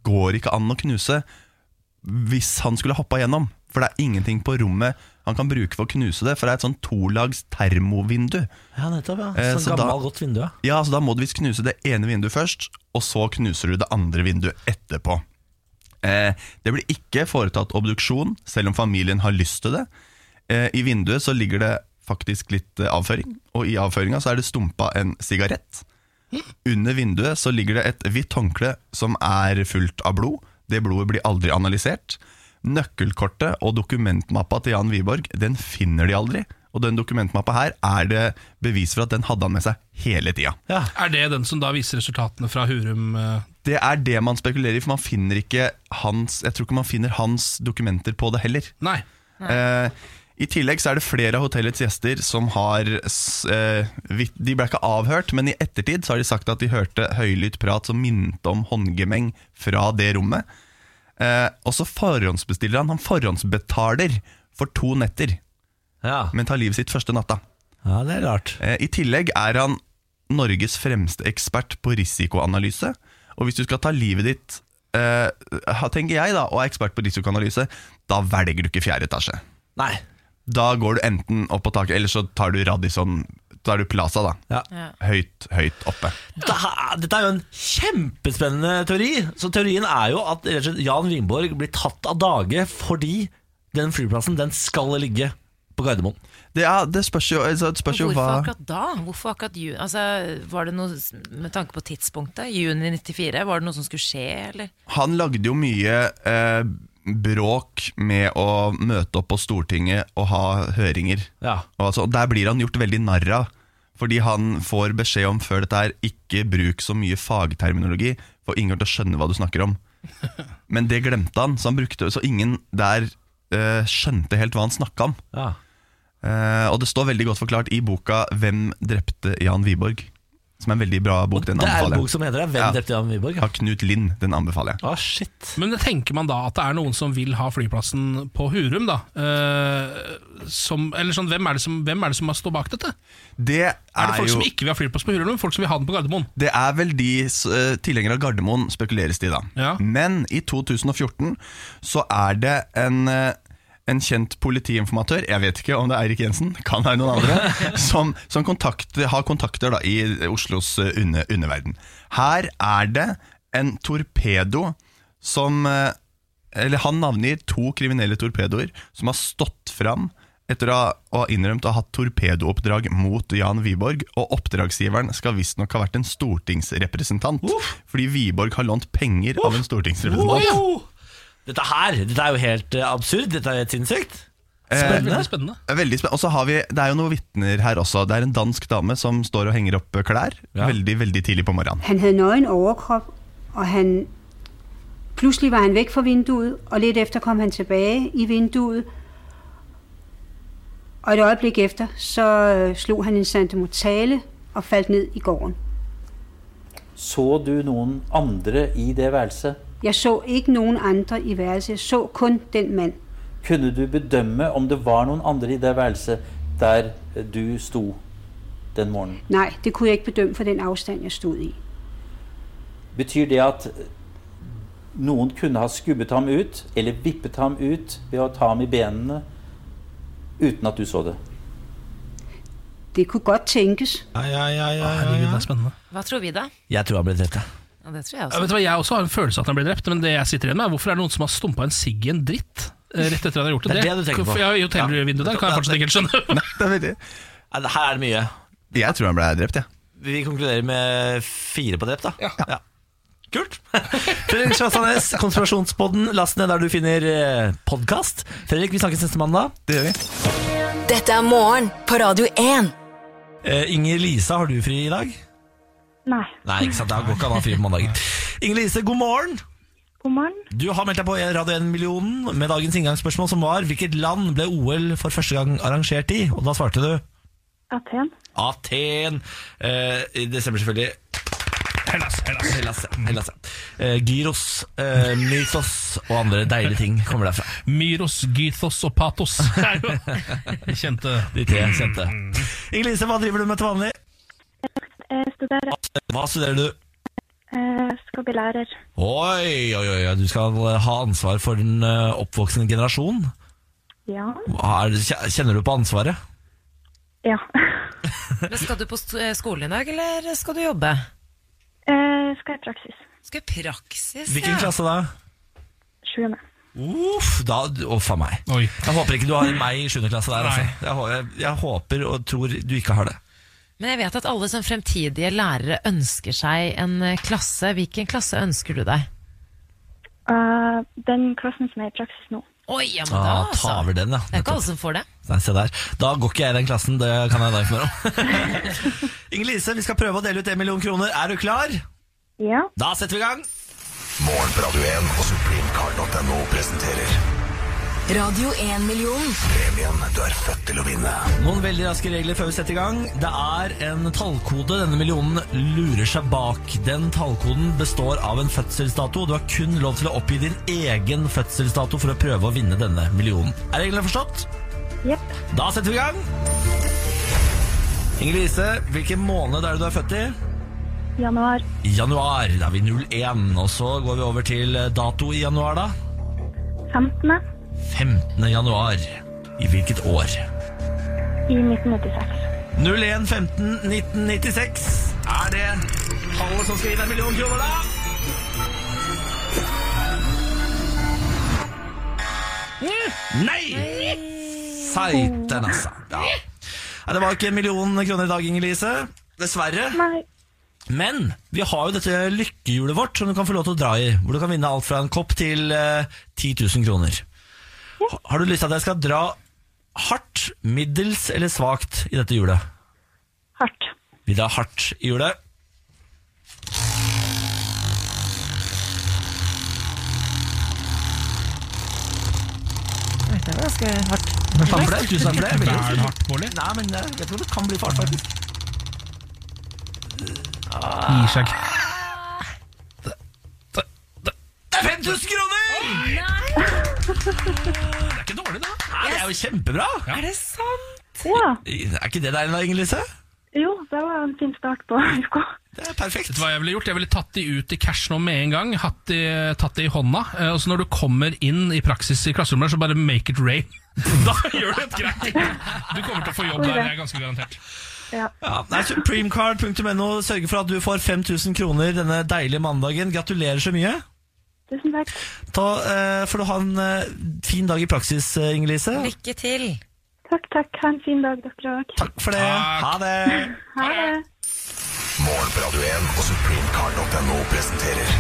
K: går ikke an å knuse hvis han skulle hoppa gjennom. For det er ingenting på rommet han kan bruke for å knuse det, for det er et sånn tolags termovindu.
A: Ja, nettopp. ja
K: Eh,
A: Sånn
K: så da-
A: gammel, godt vindu. ja.
K: Ja, så da må du visst knuse det ene vinduet først, og så knuser du det andre vinduet etterpå. Eh, det blir ikke foretatt obduksjon, selv om familien har lyst til det. Eh, I vinduet så ligger det faktisk litt eh, avføring, og i avføringa så er det stumpa en sigarett. Under vinduet så ligger det et hvitt håndkle som er fullt av blod. Det blodet blir aldri analysert. Nøkkelkortet og dokumentmappa til Jan Wiborg den finner de aldri. Og den dokumentmappa her er det bevis for at den hadde han med seg hele tida.
C: Er det den som da viser resultatene fra Hurum? eh?
K: Det er det man spekulerer i, for man finner ikke hans, jeg tror ikke man finner hans dokumenter på det heller.
C: Nei.
K: Eh, I tillegg så er det flere av hotellets gjester som har s- eh, vit- De ble ikke avhørt, men i ettertid så har de sagt at de hørte høylytt prat som minnet om håndgemeng fra det rommet. Eh, og så forhåndsbestiller han. Han forhåndsbetaler for to netter, men tar livet sitt første natta.
A: Ja, det er rart.
K: Eh, I tillegg er han Norges fremste ekspert på risikoanalyse. Og hvis du skal ta livet ditt, eh, ha- tenker jeg da, og er ekspert på risikoanalyse, da velger du ikke fjerde etasje.
A: Nei.
K: Da går du enten opp på taket, eller så tar du Radisson, tar du Plaza da.
A: Ja.
K: Høyt, høyt oppe.
A: Dette, dette er jo en kjempespennende teori. Så Teorien er jo at rett og slett Jan Vingborg blir tatt av dage fordi den flyplassen den skal ligge på Gardermoen.
K: Det, er, det spørs jo, altså, det spørs jo
B: Hvorfor
K: hva...
B: akkurat da? Hvorfor akkurat ju- altså, var det noe s- med tanke på tidspunktet? Juni 94? Var det noe som skulle skje, eller?
K: Han lagde jo mye eh, bråk med å møte opp på Stortinget og ha høringer. Og altså, der blir han gjort veldig narr av. Fordi han får beskjed om før dette her ikke bruk så mye fagterminologi, for ingen kommer til å skjønne hva du snakker om. Men det glemte han, så, han brukte, så ingen der eh, skjønte helt hva han snakka om.
A: Ja.
K: Eh, og det står veldig godt forklart i boka 'Hvem drepte Jan Wiborg', som er en veldig bra bok. Den
A: det er en
K: anbefaler jeg.
A: bok som heter det, 'Hvem drepte Jan Wiborg'?
K: Av Knut Lind. Den anbefaler jeg.
A: Ah, shit.
C: Men tenker man da at det er noen som vil ha flyplassen på Hurum, da? Eh, som, eller sånn, hvem er det som, hvem er det som har stått bak dette?
K: Det er,
C: Er det folk
K: jo,
C: som ikke vil ha flyplass på Hurum, men folk som vil ha den på Gardermoen?
K: Det er vel de eh, tilhengere av Gardermoen, spekuleres det i da. Men i 2014 så er det en, eh, en kjent politiinformatør, jeg vet ikke om det er Eirik Jensen, kan være noen andre, som, som kontakter, har kontakter da, i Oslos eh, under, underverden. Her er det en torpedo som eh, eller han navngir to kriminelle torpedoer som har stått fram etter å ha- å ha innrømt å ha hatt torpedooppdrag mot Jan Wiborg, og oppdragsgiveren skal visstnok ha vært en stortingsrepresentant, fordi Wiborg har lånt penger av en stortingsrepresentant.
A: Wow! Dette her dette er jo helt eh, absurd. Dette er jo helt sinnssykt.
K: Eh,
A: Spennende.
C: Spennende.
K: Veldig spennende. Og så har vi, Det er jo noen vitner her også. Det er en dansk dame som står og henger opp klær veldig veldig tidlig på morgenen.
L: Han havde nøgen overkrop, og han pludselig var han væk fra vinduet, og lidt efter kom han tilbage i vinduet. Og et øjeblik efter, så øh, slog han en santemortale og faldt ned i gården.
M: Så du noen andre i det værelset?
L: Jeg så ikke nogen andre i værelset. Jeg så kun den mand.
M: Kunne du bedømme om det var noen andre i det værelset der du sto den morgenen?
L: Nej, det kunne jeg ikke bedømme for den afstand, jeg stod i.
M: Betyr det at noen kunne ha skubbet ham ut, eller vippet ham ut ved å ta ham i benene, uten at du så det?
L: Det kunne godt tænkes.
A: Ja, ja, ja, ja,
C: Det er spennende.
B: Hva tror vi da?
A: Jeg tror han ble drept, ja.
B: Ja, det tror jeg
C: Ja, vet du
B: også.
C: hva, Jeg også har en følelse av at han ble drept, men det jeg sitter igjen med er hvorfor er det noen som har stumpa en sigg i en dritt? eh, Rett etter at han har gjort det.
A: Det er det du tenker på.
C: Ja, I hotellvinduet der kan jeg fortsatt ikke helt skjønne.
A: Ja, det- Her er det mye.
K: Jeg tror han ble drept, jeg.
A: Vi konkluderer med fire på drept, da. Ja. Kult! Fredrik Svasanes, Konspirasjonspodden. Last ned der du finner podkast. Fredrik, vi snakkes neste mandag.
K: Det gjør vi.
D: Dette er morgen på Radio 1.
A: Eh, Inger Lisa, har du fri i dag?
N: Nei.
A: Nei, ikke sant. Da går ikke an å ha fri på mandager. Inger Lise, god morgen.
N: God morgen.
A: Du har meldt deg på Radio 1-millionen med dagens inngangsspørsmål, som var hvilket land ble OL for første gang arrangert i? Og da svarte du
N: Aten.
A: Aten. Eh, det stemmer selvfølgelig. Hellas, Hellas, Hellas, Hellas. Eh, gyros, eh, mytos og andre deilige ting kommer derfra.
C: Myros, gythos og patos. Det er jo- De kjente.
A: De tre kjente.
N: Mm.
A: Inger Lise, hva driver du med til vanlig?
N: Jeg studerer.
A: Hva studerer du?
N: Jeg skal bli lærer.
A: Oi, oi, oi, du skal ha ansvar for den eh, oppvoksende eh, generasjon.
N: Ja.
A: Er det- Kjenner du på ansvaret?
N: ja.
B: Men skal du på st- eh, skolen i dag, eller skal du jobbe?
N: Eh, skal i praksis.
B: Skal i praksis,
A: Hvilken
B: ja.
A: klasse da?
N: Sjuende.
A: Uff, da, å faen meg. Jeg håper ikke du har meg i 7. klasse der. Altså. Jeg, hå- jeg, jeg håper og tror du ikke har det.
B: Men jeg vet at alle som fremtidige lærere ønsker seg en eh, klasse. Hvilken klasse ønsker du deg?
N: Eh, den klassen som er i praksis nå.
B: Oi, ja, men da,
A: Ah,
B: altså.
A: tar vi den, ja.
B: Det er ikke alle som får det.
A: Nei, se der. Da går ikke jeg i den klassen, det kan jeg da informere om. Inger Lise, vi skal prøve å dele ut en million kroner. Er du klar?
N: Ja.
A: Da setter vi i gang.
O: Morgen på Radio 1 og supremecar.no presenterer
D: Radio 1 million.
O: premien du er født til å vinne.
A: Noen veldig raske regler før vi setter i gang. Det er en tallkode denne millionen lurer seg bak. Den tallkoden består av en fødselsdato. og Du har kun lov til å oppgi din egen fødselsdato for å prøve å vinne denne millionen. Er reglene forstått?
N: Jepp.
A: Da setter vi i gang. Inger Lise, hvilken måned er det du er født i?
N: Januar.
A: Januar. Da er vi 01. Og så går vi over til dato i januar, da.
N: 15.
A: 15. januar. I hvilket år?
N: i 1996.
A: 01.15.1996 Er det tallet som skal gi deg en million kroner da? Mm. Nei! Seiten altså ja. Nei, Det var ikke en million kroner i dag, Inge-Lise Dessverre Men vi har jo dette lykkehjulet vårt Som du kan få lov til å dra i Hvor du kan vinne alt fra en kopp til eh, 10 000 kroner Ha- Har du lyst til at jeg skal dra hardt, middels eller svagt i dette hjulet?
N: Hardt.
A: Vi drar hardt i hjulet.
B: Oi, Det var ganske hardt.
A: Tusen takk for det. Tusen takk for det. Veldig
C: Vær
A: fint.
C: hardt, Bårdli.
A: Nei, men eh, jeg tror det kan bli fart, faktisk.
C: Gir seg ikke.
A: Det er 5000 kroner!
C: Det er ikke dårlig, da.
A: Nei, det er jo kjempebra!
B: Er det sant?
N: Ja.
A: Er ikke det deilig, da, Inger-Lise?
N: Jo, det var en fin start på uka.
A: Perfekt.
C: Vet du hva Jeg ville gjort? Jeg ville tatt de ut i cash nå med en gang. Hatt de, tatt de i hånda. eh, Og så når du kommer inn i praksis i klasserommet, så bare make it rain. Da gjør du et greit Du kommer til å få jobb der, det er ganske garantert.
N: Ja.
A: Ja, nei, Supremecard.no sørger for at du får 5000 kroner denne deilige mandagen. Gratulerer så mye.
N: Tusen takk.
A: Ta, eh, får du ha en eh, fin dag i praksis, eh, Inger-Lise.
B: Lykke til.
N: Takk, takk. Ha en fin dag, dere òg.
A: Takk for det. Ha det.
N: Ha det.
O: Morgen på Radio 1 og supremecar.no presenterer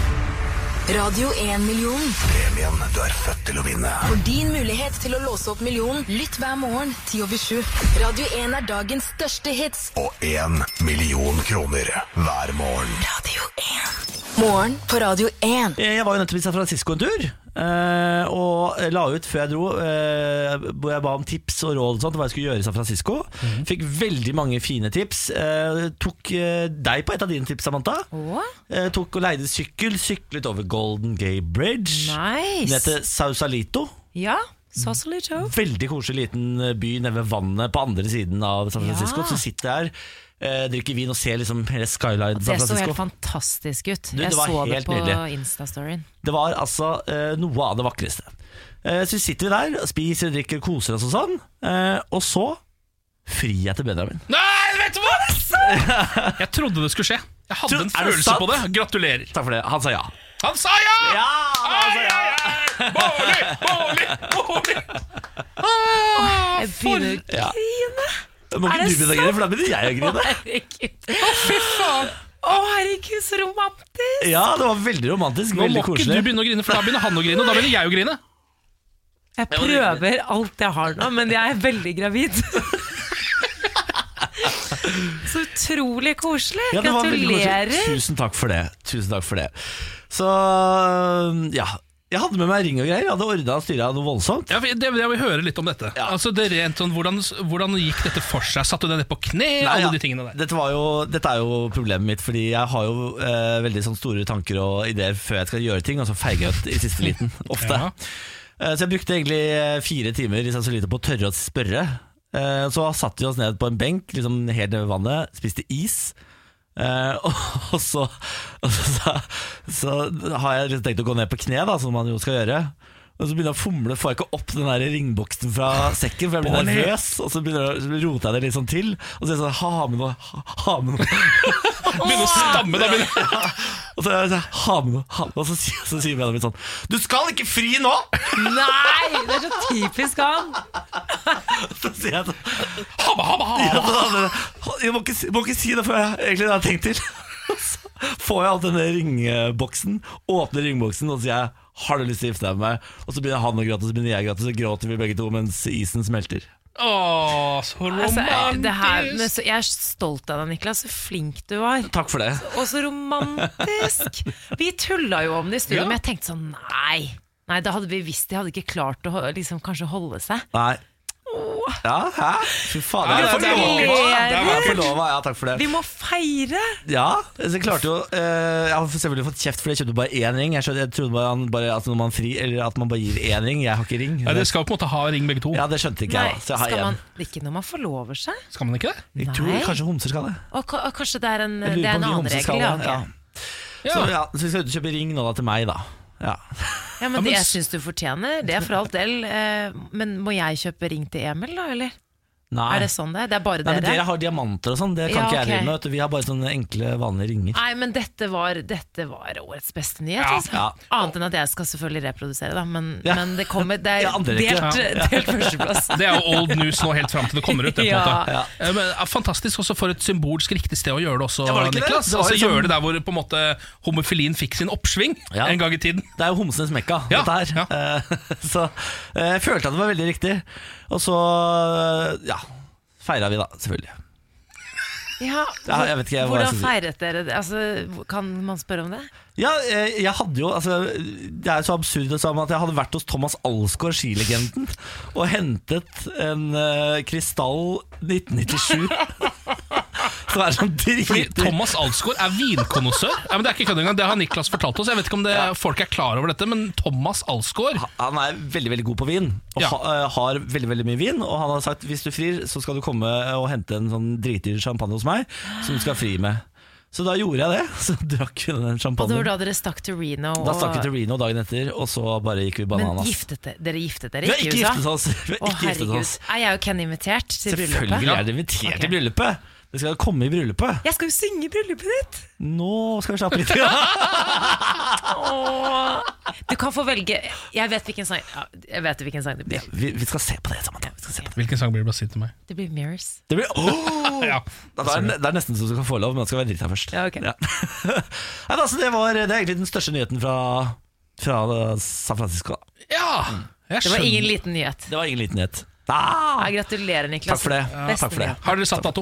D: Radio 1 million.
O: premien du er født til å vinne.
D: For din mulighet til å låse opp millionen, lytt hver morgen 10 over 7. Radio 1 er dagens største hits.
O: Og én million kroner hver morgen.
D: Morgen på Radio 1.
A: Jeg var jo nettopp i San Francisco en tur. eh, og la ut før jeg dro, eh, hvor jeg ba om tips og råd og sånt, om hva jeg skulle gjøre i San Francisco.
B: Mhm.
A: Fikk veldig mange fine tips. Eh, tok eh, deg på et av dine tips, Samantha. Eh, tok og leide sykkel. Syklet over Golden Gay Bridge.
B: Nice.
A: Den heter Sausalito.
B: Ja, Sausalito.
A: Veldig koselig liten eh, by nede ved vannet på andre siden av San Francisco.
B: Ja.
A: Så sitter jeg her, eh, drikker vin og ser liksom hele skyline
B: Det
A: San
B: så helt
A: Francisco.
B: fantastisk ut.
A: Du, det
B: jeg
A: var
B: så det
A: helt
B: på
A: nydelig.
B: Insta-storyen.
A: Det var altså eh, noe av det vakreste. Eh, så sitter vi der, og spiser, drikker, koser oss og sånn. Eh, og så frir jeg til Benjamin.
C: Nei, vet du hva! Jeg trodde det skulle skje. Jeg hadde
A: Tro-
C: en
A: er det
C: følelse
A: sant?
C: på det. Gratulerer.
A: Takk for det. Han sa ja.
C: Han sa ja!
A: Ja,
C: Bårli, Bårli, Bårli! Ah,
B: Jeg
C: for...
B: begynner å
A: Ja.
B: grine.
A: Må ikke
B: Er det
A: du begynne å grine, for da begynner jeg å
B: Å,
A: grine.
B: herregud. Fy faen. Å, herregud, så romantisk.
A: Ja, det var veldig romantisk.
C: Nå må
A: veldig
C: ikke
A: koselig.
C: du begynne å grine, for da begynner han å grine. Og da begynner jeg å grine.
B: Jeg prøver alt jeg har nå, men jeg er veldig gravid. Så utrolig koselig.
A: Ja, det var veldig koselig.
B: Gratulerer.
A: Tusen takk for det. Tusen takk for det. Så ja. Jeg hadde med meg ring og greier. Jeg hadde ordna og styra noe voldsomt.
C: Ja, for det, jeg vil høre litt om dette. Altså, det er rent sånn, hvordan, hvordan gikk dette for seg? Satt du deg ned på kne?
A: Nei, ja.
C: Alle de tingene der.
A: Dette, var jo, dette er jo problemet mitt, fordi jeg har jo eh, veldig sånn store tanker og ideer før jeg skal gjøre ting, og så feiger jeg ut i siste liten. Ofte.
C: Ja.
A: Eh, så jeg brukte egentlig eh, fire timer i Sansolito på å tørre å spørre. Eh, så satte vi oss ned på en benk liksom helt nede ved vannet, spiste is. Eh, og, og så, og så, så, så har jeg liksom tenkt å gå ned på kne, da, som man jo skal gjøre. Og så begynner jeg å fomle, får jeg ikke opp den der ringboksen fra sekken, for jeg blir
C: Bonnie!
A: nervøs. Og så begynner jeg, så roter jeg det litt sånn til, og så er jeg sånn Ha med noe, ha- ha med noe.
C: Begynner å stamme, da begynner jeg.
A: Og så, er jeg sånn, ha med noe, ha med noe. Og så, sier- så sier Benjamin sånn Du skal ikke fri nå!
B: Nei, det er så typisk han!
A: Så sier jeg sånn Ja, da, da, Jeg må ikke, si- må ikke si det før jeg egentlig har tenkt til. Så får jeg alt denne ringboksen, åpner ringboksen og så sier jeg har du lyst til å gifte deg med meg? Og så begynner han å gråte, så begynner jeg å gråte, så gråter vi begge to mens isen smelter.
C: Åh, så
B: Altså, det her, men
C: romantisk!
B: så, jeg er stolt av deg, Niklas. Så flink du var.
A: Takk for det.
B: Og så romantisk! Vi tulla jo om det i studio,
A: Ja.
B: men jeg tenkte sånn nei. Nei, da hadde vi visst de hadde ikke klart å ho- liksom, kanskje holde seg.
A: Nei. Ja, hæ? Fy faen.
B: Ja,
A: Jeg er
B: det er
A: forlova.
B: vakkert.
A: Jeg er forlova, Ja, takk for det.
B: Vi må feire!
A: Ja, så jeg klarte jo eh, Jeg har selvfølgelig fått kjeft fordi jeg kjøpte bare én ring. Jeg, skjønte, jeg trodde bare, han bare at, når man fri, eller at man bare gir én ring. Jeg har ikke ring.
C: Ja, dere skal på en måte ha ring begge to.
A: Ja, det skjønte ikke
B: Nei,
A: jeg. da, Så jeg har
B: skal man
A: én.
B: ikke når man forlover seg?
C: Skal man ikke det?
A: Jeg tror
B: Nei.
A: kanskje homser skal det.
B: Og, ka- og kanskje det er en,
A: Jeg
B: det
A: lurer
B: er en
A: på om
B: annen
A: de homser
B: regel?
A: skal
B: Ja,
A: det.
B: ok.
A: Ja. Så, ja, så vi skal ut og kjøpe ring nå da til meg, da. Ja.
B: ja, men
A: men
B: det jeg
A: s-
B: syns du fortjener, det er for all del. eh, Men må jeg kjøpe ring til Emil, da, eller?
A: Nei.
B: Er det sånn det er? Det er
A: Nei,
B: bare dere?
A: men dere har diamanter og sånn, det kan
B: Ja,
A: ikke jeg
B: ok.
A: drive med. vet du. Vi har bare sånne enkle, vanlige ringer.
B: Nei, men dette var, dette var årets beste nyhet.
A: Ja.
B: Altså.
A: Ja.
B: Annet enn at jeg skal selvfølgelig reprodusere, da. Men,
A: Ja.
B: men det kommer Det er
A: Ja, andre rekke.
B: delt,
A: Ja.
B: delt førsteplass.
C: Det er jo old news nå helt fram til det kommer ut. Det, på en
B: Ja.
C: måte. Eh, Men, eh, fantastisk også for et symbolsk riktig sted å gjøre det også,
A: Ja, var det ikke det?
C: Niklas.
A: Det var
C: altså,
A: liksom-
C: Gjøre det der hvor på en måte homofilien fikk sin oppsving
A: Ja.
C: en gang i tiden.
A: Det er jo homsenes mekka,
C: Ja,
A: dette her. Eh, Så eh, jeg følte at det var veldig riktig. Og så eh, ja, feira vi, da, selvfølgelig.
B: Ja,
A: Ja, jeg vet ikke jeg- hva jeg
B: hvordan
A: skal si.
B: feiret dere det? Altså, kan man spørre om det?
A: Ja, eh, jeg hadde jo altså, Det er jo så absurd det samme at jeg hadde vært hos Thomas Alsgaard, skilegenden, og hentet en eh, krystall 1997. Som er sånn
C: Fordi
A: drit
C: Thomas Alsgaard er vinkonnissør. Ja, men det er ikke kødd engang, det har Niklas fortalt oss. Jeg vet ikke om det, folk er klar over dette, men Thomas Alsgaard
A: Han er veldig veldig god på vin, og
C: Ja.
A: ha, eh, har veldig veldig mye vin. Og han har sagt hvis du frir, så skal du komme og hente en sånn dritdyr champagne hos meg, som du skal fri med. Så da gjorde jeg det. Så drakk hun den
B: Og det var
A: champagnen.
B: da dere stakk til Reno.
A: Da stakk vi til Reno dagen etter, og så bare gikk vi
B: men
A: bananas.
B: giftet dere, dere giftet dere
A: Vi har
B: ikke
A: ikke
B: i USA?
A: giftet oss. Vi har
B: Å,
A: ikke giftet
B: herregud.
A: oss.
B: Er jeg og Ken invitert til bryllupet?
A: Selvfølgelig er det invitert
B: Ok.
A: i bryllupet. Det skal jo komme i bryllupet.
B: Jeg skal jo synge i bryllupet ditt!
A: Nå skal vi slappe litt. av.
B: Åh. Du kan få velge Jeg vet hvilken sang, ja, jeg vet hvilken sang det blir.
A: vi, vi skal se på det sammen. Vi skal se på det.
C: Hvilken sang blir det bare å si til meg?
B: Det blir 'Mirrors'.
A: Det, blir, Åh!
C: Ja.
A: det, er, det er nesten så du kan få lov, men du skal være drita først.
B: Ja, ok.
A: Ja. Nei, men altså, det, var, det er egentlig den største nyheten fra, fra eh, San Francisco. da.
C: Ja! Jeg
B: Det var ingen
C: skjønner.
B: liten nyhet.
A: Det var ingen liten nyhet. Ah!
B: Ja, gratulerer, Niklas.
A: Takk for det.
B: Beste
A: Takk for det.
B: nyhet.
C: Har dere satt dato?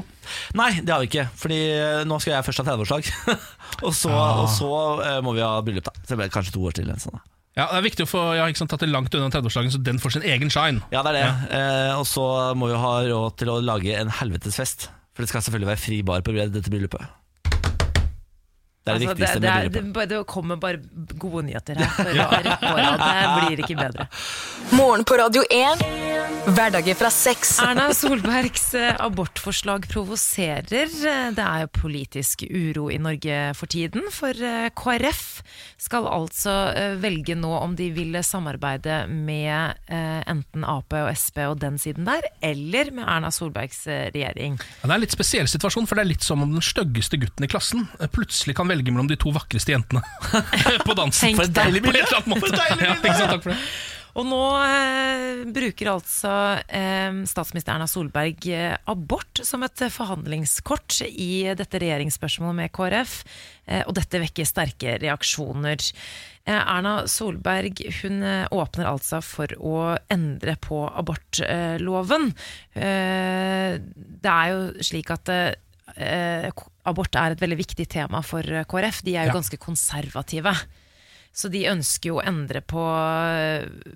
A: Nei, det har vi ikke. Fordi eh, nå skal jeg først ha 30-årslag. og så, og så eh, må vi ha bryllup, da. Så det blir kanskje to år til. eller Sånn, da.
C: Ja, det er viktig å få Jeg har ikke sant, tatt det langt unna 30-årsdagen, så den får sin egen shine.
A: Ja, det er det. Eh, og så må vi ha råd til å lage en helvetesfest. For det skal selvfølgelig være fri bar på dette bryllupet. Det er det
B: Altså,
A: viktigste
B: det,
A: med
B: er-
A: bryllupet.
B: det, det kommer bare gode nyheter her. For rett på rad. Det blir ikke bedre.
D: Morgen på Radio 1. Hverdager fra seks.
B: Erna Solbergs eh, abortforslag provoserer. Eh, Det er jo politisk uro i Norge for tiden. For eh, KrF skal altså eh, velge nå om de vil samarbeide med eh, enten Ap og Sp og den siden der, eller med Erna Solbergs eh, regjering.
C: Ja, det er en litt spesiell situasjon, for det er litt som om den styggeste gutten i klassen eh, plutselig kan velge mellom de to vakreste jentene på dansen.
B: Tenk For et det. deilig
C: På et eller annet måte. Ja, ikke sant, takk for det.
B: Og nå eh, bruker altså eh, statsminister Erna Solberg eh, abort som et eh, forhandlingskort i dette regjeringsspørsmålet med KrF, eh, og dette vekker sterke reaksjoner. Eh, Erna Solberg hun eh, åpner altså for å endre på abortloven. Eh, det er jo slik at eh, eh, abort er et veldig viktig tema for eh, KrF. De er jo
C: Ja.
B: ganske konservative. Så de ønsker jo å endre på,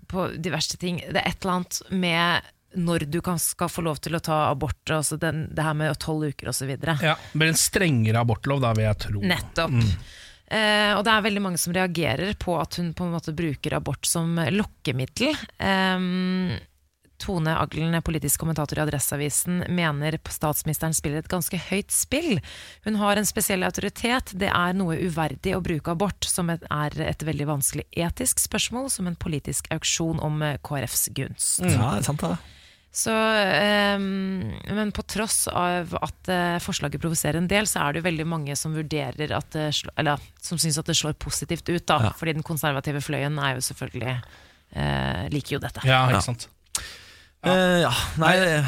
B: på diverse ting. Det er et eller annet med når du kan, skal få lov til å ta abort, altså den, det her med tolv uker osv. videre
C: Ja, det blir en strengere abortlov, da, vil jeg tro.
B: Nettopp. Eh, og det er veldig mange som reagerer på at hun på en måte bruker abort som lokkemiddel. Eh, Tone Aglen, politisk kommentator i Adresseavisen, mener statsministeren spiller et ganske høyt spill. Hun har en spesiell autoritet. Det er noe uverdig å bruke abort, som et- er et veldig vanskelig etisk spørsmål, som en politisk auksjon om eh, KrFs gunst.
A: Mm. Ja, det er sant det.
B: Så, ehm, men på tross av at eh, forslaget provoserer en del, så er det jo veldig mange som vurderer at det slår, eller, som syns at det slår positivt ut. Da,
A: Ja.
B: Fordi den konservative fløyen er jo selvfølgelig eh, liker jo dette.
A: Ja. Eh, ja, nei, eh,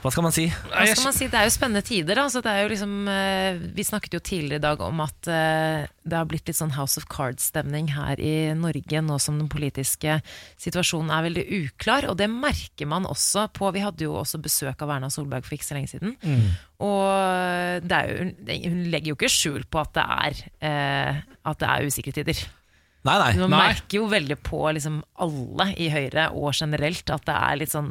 A: hva skal man si?
B: Hva skal man si? Det er jo spennende tider. Da. Så det er jo liksom, eh, vi snakket jo tidligere i dag om at eh, det har blitt litt sånn House of Cards-stemning her i Norge, nå som den politiske situasjonen er veldig uklar. Og det merker man også på Vi hadde jo også besøk av Erna Solberg for ikke så lenge siden.
P: Mm.
B: Og eh, det er jo, hun- hun legger jo ikke skjul på at det er, eh, at det er usikre tider.
A: Nei, nei.
B: Man
A: nei.
B: merker jo veldig på liksom alle i Høyre og generelt at det er litt sånn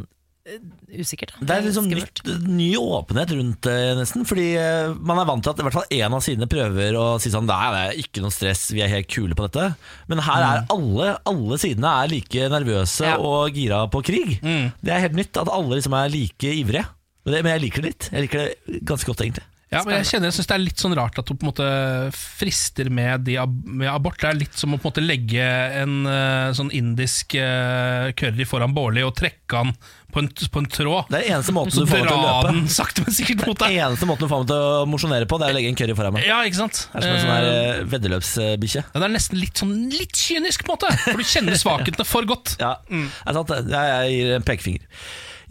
B: eh, usikkert. Da.
A: Det er liksom
B: Skummelt.
A: nytt, ny åpenhet rundt det, nesten. Fordi eh, man er vant til at i hvert fall én av sidene prøver å si sånn Nei, det er ikke noe stress, vi er helt kule på dette. Men her er alle, alle sidene er like nervøse og gira på krig. Det er helt nytt at alle liksom er like ivrige. Men, det, men jeg liker det litt. Jeg liker det ganske godt, egentlig.
C: Ja, men jeg kjenner, jeg synes Det er litt sånn rart at du på en måte frister med, de, ab- med abort. Det er litt som å på en måte legge en eh, sånn indisk eh, curry foran Bårli og trekke han på en, på en tråd.
A: Det er eneste måten
C: Så
A: du får meg til å
C: dra
A: løpe.
C: den sakte, men sikkert mot
A: deg. Eneste måten du får meg til å mosjonere på, det er å legge en curry foran meg.
C: Ja, ikke sant?
A: Det er som en sånn her eh, veddeløpsbikkje.
C: Ja, det er nesten litt sånn litt kynisk, på en måte. For du kjenner svakhetene for godt.
A: Ja, det er sant det. Jeg, jeg gir en pekefinger.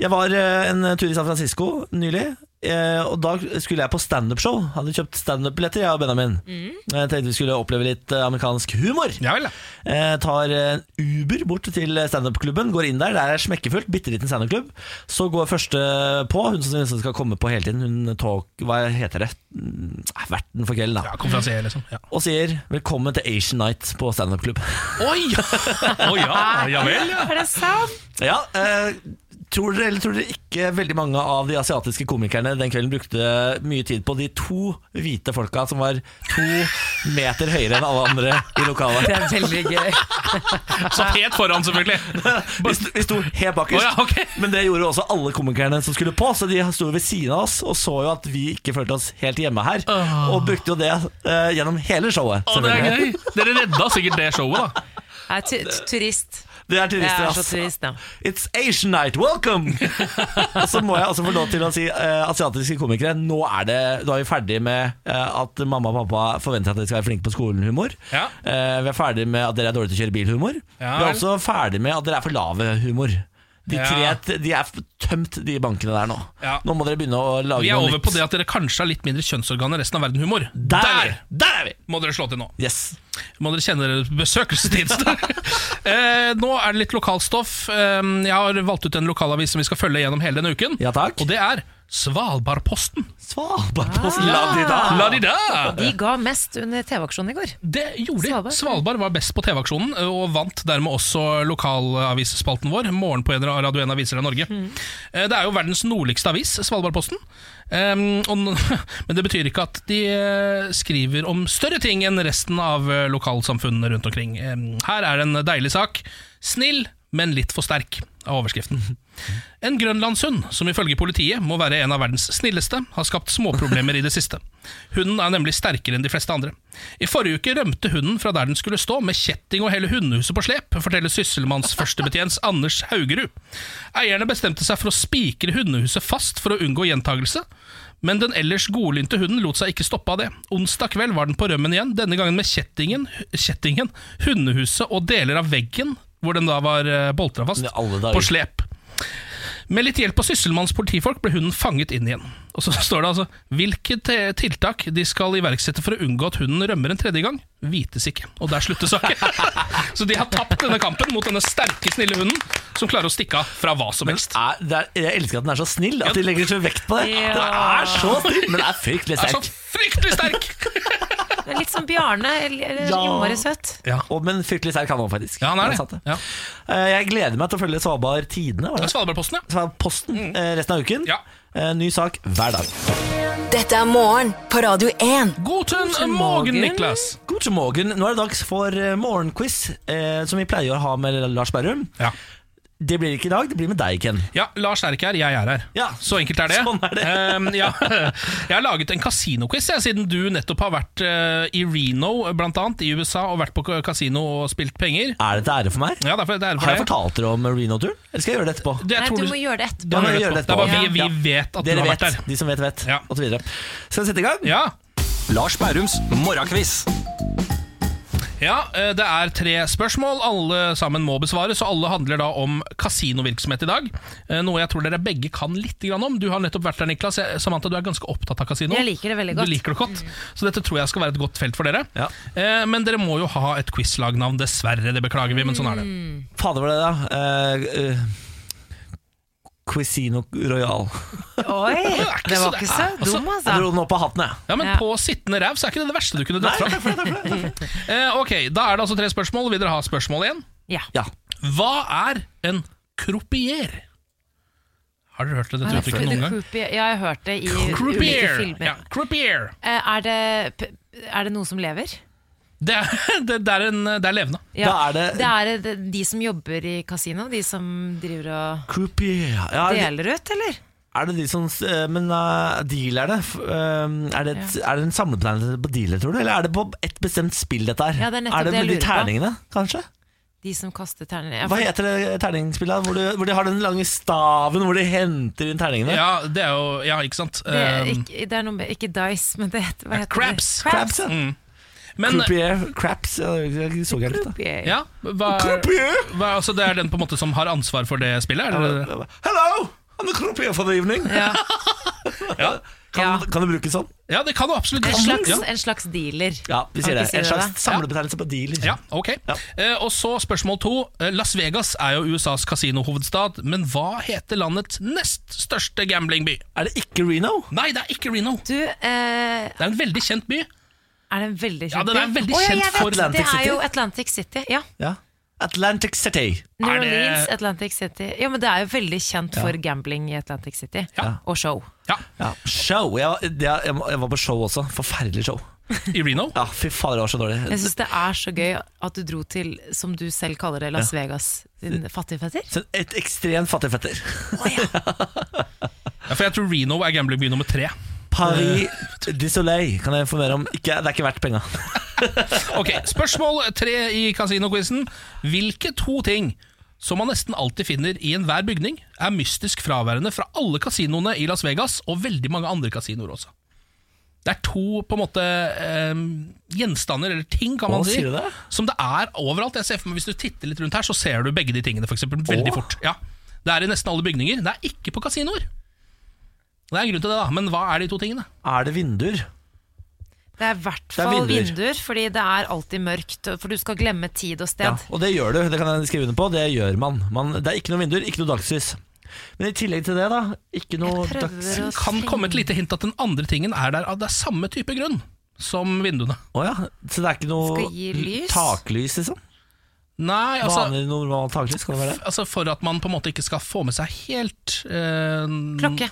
A: Jeg var eh, en tur i San Francisco nylig, eh, og da skulle jeg på standup-show. Hadde kjøpt standup-billetter, jeg og Benjamin. Jeg tenkte vi skulle oppleve litt eh, amerikansk humor. Eh, Tar eh, en Uber bort til standup-klubben, går inn der, der er smekkefullt, bitte liten standup-klubb. Så går første på, hun som som skal komme på hele tiden, hun talk, hva heter det? Mm, Verten for kvelden, da.
C: Konferansier, liksom. Ja.
A: Og sier 'velkommen til Asian Night' på standup-klubb.
C: Oi! Å ja, ja vel, ja.
B: Er det sant?
A: Ja, eh, tror dere eller tror dere ikke veldig mange av de asiatiske komikerne den kvelden brukte mye tid på de to hvite folka som var to meter høyere enn alle andre i lokalet?
B: Det er veldig gøy.
C: Satt helt foran, selvfølgelig.
A: Vi sto, vi sto helt bakerst, men det gjorde også alle komikerne som skulle på. Så de sto ved siden av oss og så jo at vi ikke følte oss helt hjemme her. Og brukte jo det eh, gjennom hele showet.
C: Å, det er gøy!
A: selvfølgelig.
C: Dere redda sikkert det showet, da.
B: Jeg er tu tu- turist.
A: Det er turister,
B: Jeg er
A: ass.
B: så turist, ja.
A: It's Asian night, welcome! Og så må jeg også få lov til å si eh, asiatiske komikere. Nå er, det, nå er vi ferdig med eh, at mamma og pappa forventer at dere skal være flinke på skolen-humor.
C: Ja.
A: Eh, vi er ferdig med at dere er dårlige til å kjøre bil-humor.
C: Ja,
A: vi er
C: vel.
A: også ferdig med at dere er for lave-humor. De tre
C: Ja.
A: de er tømt, de bankene der nå.
C: Ja.
A: Nå må dere begynne å lage
C: Vi er
A: noe
C: over
A: nytt.
C: på det at dere kanskje har litt mindre kjønnsorgan enn resten av verden-humor.
A: Der er
C: Der! Der er vi! Må dere slå til nå.
A: Yes.
C: Må dere kjenne deres besøkelsestid. eh, nå er det litt lokalstoff. Eh, jeg har valgt ut en lokalavis som vi skal følge gjennom hele denne uken.
A: Ja, takk.
C: Og det Ah. er Svalbardposten.
A: Svalbardposten, la de da.
C: La de da.
B: De ga mest under TV-aksjonen i går.
C: Det gjorde de. Svalbard. var best på TV-aksjonen, eh, og vant dermed også lokalavisspalten vår, Morgen på en Radio 1 Aviser av Norge. Eh, Det er jo verdens nordligste avis, Svalbardposten. Ehm, og n- men det betyr ikke at de eh, skriver om større ting enn resten av eh, lokalsamfunnene rundt omkring. Ehm, her er en deilig sak. Snill, men litt for sterk, av overskriften. En grønlandshund, som ifølge politiet må være en av verdens snilleste, har skapt småproblemer i det siste. Hunden er nemlig sterkere enn de fleste andre. I forrige uke rømte hunden fra der den skulle stå, med kjetting og hele hundehuset på slep, forteller sysselmannsførstebetjent Anders Haugerud. Eierne bestemte seg for å spikre hundehuset fast for å unngå gjentagelse. Men den ellers godlynte hunden lot seg ikke stoppe av det. Onsdag kveld var den på rømmen igjen, denne gangen med kjettingen, kjettingen hundehuset og deler av veggen, hvor den da var boltra fast, på slep. Med litt hjelp av sysselmannens politifolk ble hunden fanget inn igjen. Og så står det altså hvilke te- tiltak de skal iverksette for å unngå at hunden rømmer en tredje gang, vites ikke. Og der slutter saken. så de har tapt denne kampen mot denne sterke, snille hunden som klarer å stikke av fra hva som helst.
A: Er, det er, jeg elsker at den er så snill, at de legger så vekt på det.
B: Ja.
A: Den er så snill, men den er fryktelig
C: Er så
A: sterk.
C: fryktelig sterk!
B: Det er Litt som Bjarne. eller- eller
A: Ja.
B: Innmari søt.
A: Og, men fryktelig sterk han var faktisk. Ja,
C: han er det.
A: Eh, Jeg gleder meg til å følge Svalbard Tidene. var det?
C: Svalbardposten, ja. Mm.
A: Svalbardposten eh, resten av uken. Eh, Ny sak hver dag.
D: Dette er morgen på Radio 1.
C: Guten morgen, Niklas.
A: God til morgen. Nå er det dags for eh, morgenquiz, eh, som vi pleier å ha med Lars Berrum. Det blir ikke i dag, det blir med deg, Ken.
C: Ja, Lars er ikke her, jeg er her. Så enkelt er det.
A: Sånn er det.
C: Ehm, ja. Jeg har laget en kasinoquiz, jeg, siden du nettopp har vært eh, i Reno, blant annet, i USA, og vært på ka- kasino og spilt penger.
A: Er det til ære for meg?
C: Ja, det er for- det er for
A: Har jeg
C: deg.
A: fortalt dere om Reno-turen? Eller skal jeg gjøre det etterpå?
C: Det- jeg
B: Nei,
C: tror
B: du
C: du-
B: må gjøre det etterpå.
C: Ja,
A: Ja,
C: men
A: men
C: gjør
A: etterpå.
C: det etterpå. Det er bare vi-
A: Ja.
C: vi vet at du
A: Dere
C: har vært
A: vet.
C: der.
A: De som vet, vet.
C: Ja.
A: Og så videre. Skal vi sette i gang?
C: Ja.
P: Lars Bærums morgenkviss.
C: Ja, eh, Det er tre spørsmål. Alle sammen må besvares, og alle handler da om kasinovirksomhet i dag. Eh, Noe jeg tror dere begge kan litt grann om. Du har nettopp vært der, Niklas. Eh, Samantha, du er ganske opptatt av kasino.
B: Jeg liker det veldig godt.
C: Du liker det godt. Så dette tror jeg skal være et godt felt for dere. Eh, Men dere må jo ha et quizlagnavn, dessverre. Det beklager vi, men sånn er det.
A: Fader, var det da? Eh, eh, Cuisino Royal.
B: Oi, det var ikke så dum, altså.
A: Jeg dro den opp av hatten, jeg.
C: Ja, men på sittende ræv så er ikke det det verste du kunne dratt fram. Eh, ok, Da er det altså tre spørsmål. Vil dere ha spørsmål igjen?
B: Ja.
C: Hva er en croupier? Har dere hørt dette
B: Nei,
C: uttrykket
B: the
C: noen gang?
B: croupier- Ja, jeg har hørt det i ulike
C: Croupier.
B: filmer.
C: Ja, croupier.
B: Eh, Er det, p- er det noe som lever?
C: Det er, det, det er, en, det er levende.
B: Ja, det er det- de som jobber i kasino, de som driver og
A: Croupier. Ja, er det-
B: deler ut, eller?
A: Er det de som eh, Men uh, dealerne f- eh, er, det et, er det en samleplante på dealer, tror du? Eller er det på et bestemt spill, dette her?
B: Ja, det er nettopp
A: det
B: det jeg
A: med de
B: lurer på.
A: terningene, kanskje?
B: De som kaster terninger. Ja,
A: Hva
B: for-
A: heter det terningsspillet? Hvor, du- hvor de har den lange staven hvor de henter inn terningene?
C: Ja, det er jo Ja, ikke sant?
B: Det er,
C: Um,
B: ikke, det er noe med, ikke dice, men det heter, hva heter
C: Craps.
B: det?
A: Craps, ja.
C: Mm. Men-
A: Croupier, craps ja, Jeg så gærent, da.
B: Croupier.
C: Ja, hva, hva, altså det er den på en måte som har ansvar for det spillet? Er det,
A: Hello! I'm the croupier for the evening.
B: Ja.
C: ja.
A: Kan, kan det brukes sånn?
C: ja, det kan du absolutt.
B: En slags,
C: Ja.
B: en slags dealer.
A: Ja, vi sier
B: Kan
A: det.
B: ikke si
A: En slags
B: da?
A: samlebetegnelse på liksom. dealer.
C: Ja, ok Eh, Og så spørsmål to Eh, Las Vegas er jo USAs kasinohovedstad Men hva heter landets nest største gamblingby?
A: Er det ikke Reno?
C: Nei, det er ikke Reno
B: Du, eh,
C: Det er en veldig kjent by
B: er den veldig kjent?
C: Ja, den er
B: by?
C: veldig
B: Å, ja,
C: kjent
B: jeg
C: for
B: vet,
C: Atlantic
B: Det
C: City.
B: er jo Atlantic City, ja.
A: Ja. Atlantic City.
B: New
C: Er det-
B: Orleans, Atlantic City. Ja, men det er jo veldig kjent for gambling i Atlantic City. Og show.
A: Ja. Show. Jeg, var- det- jeg, jeg var på show også. Forferdelig show.
C: I Reno?
A: Ja, fy fader, det var så dårlig.
B: Jeg syns det er så gøy at du dro til, som du selv kaller det, Las
A: Ja.
B: Vegas. Din fattigfetter?
A: Så Et ekstremt fattig fetter.
C: ja, For jeg tror Reno er gamblingby nummer tre
A: Paris du Soleil kan jeg informere om. Ikke, det er ikke verdt penga.
C: Ok, spørsmål tre i kasinoquizzen Hvilke to ting som man nesten alltid finner i enhver bygning Er mystisk fraværende fra alle kasinoene i Las Vegas Og veldig mange andre kasinoer også det er to på en måte eh, gjenstander, eller ting kan
A: Å,
C: man si,
A: sier du det?
C: som det er overalt. Jeg ser for meg Hvis du titter litt rundt her, så ser du begge de tingene for eksempel, veldig
A: Å.
C: fort. Ja. Det er i nesten alle bygninger. Det er ikke på kasinoer. Det er en grunn til det, da. Men hva er de to tingene?
A: Er det vinduer?
B: Det er i hvert
A: Det er
B: fall
A: vinduer.
B: vinduer. fordi det er alltid mørkt. For du skal glemme tid og sted.
A: Ja, og det gjør du. Det kan jeg skrive under på. Det gjør man. man det er ikke noe vinduer, ikke noe dagslys. Men i tillegg til det, da. Ikke noe
B: prøver
A: dags...
B: å
C: Kan komme et lite hint at den andre tingen er der av det er samme type grunn som vinduene.
A: Å ja. Så det er ikke noe
B: Skal gi lys?
A: taklys, liksom?
C: Nei, altså,
A: Vanlig, normalt taklys? Kan det være det?
C: altså For at man på en måte ikke skal få med seg helt eh,
B: Klokke.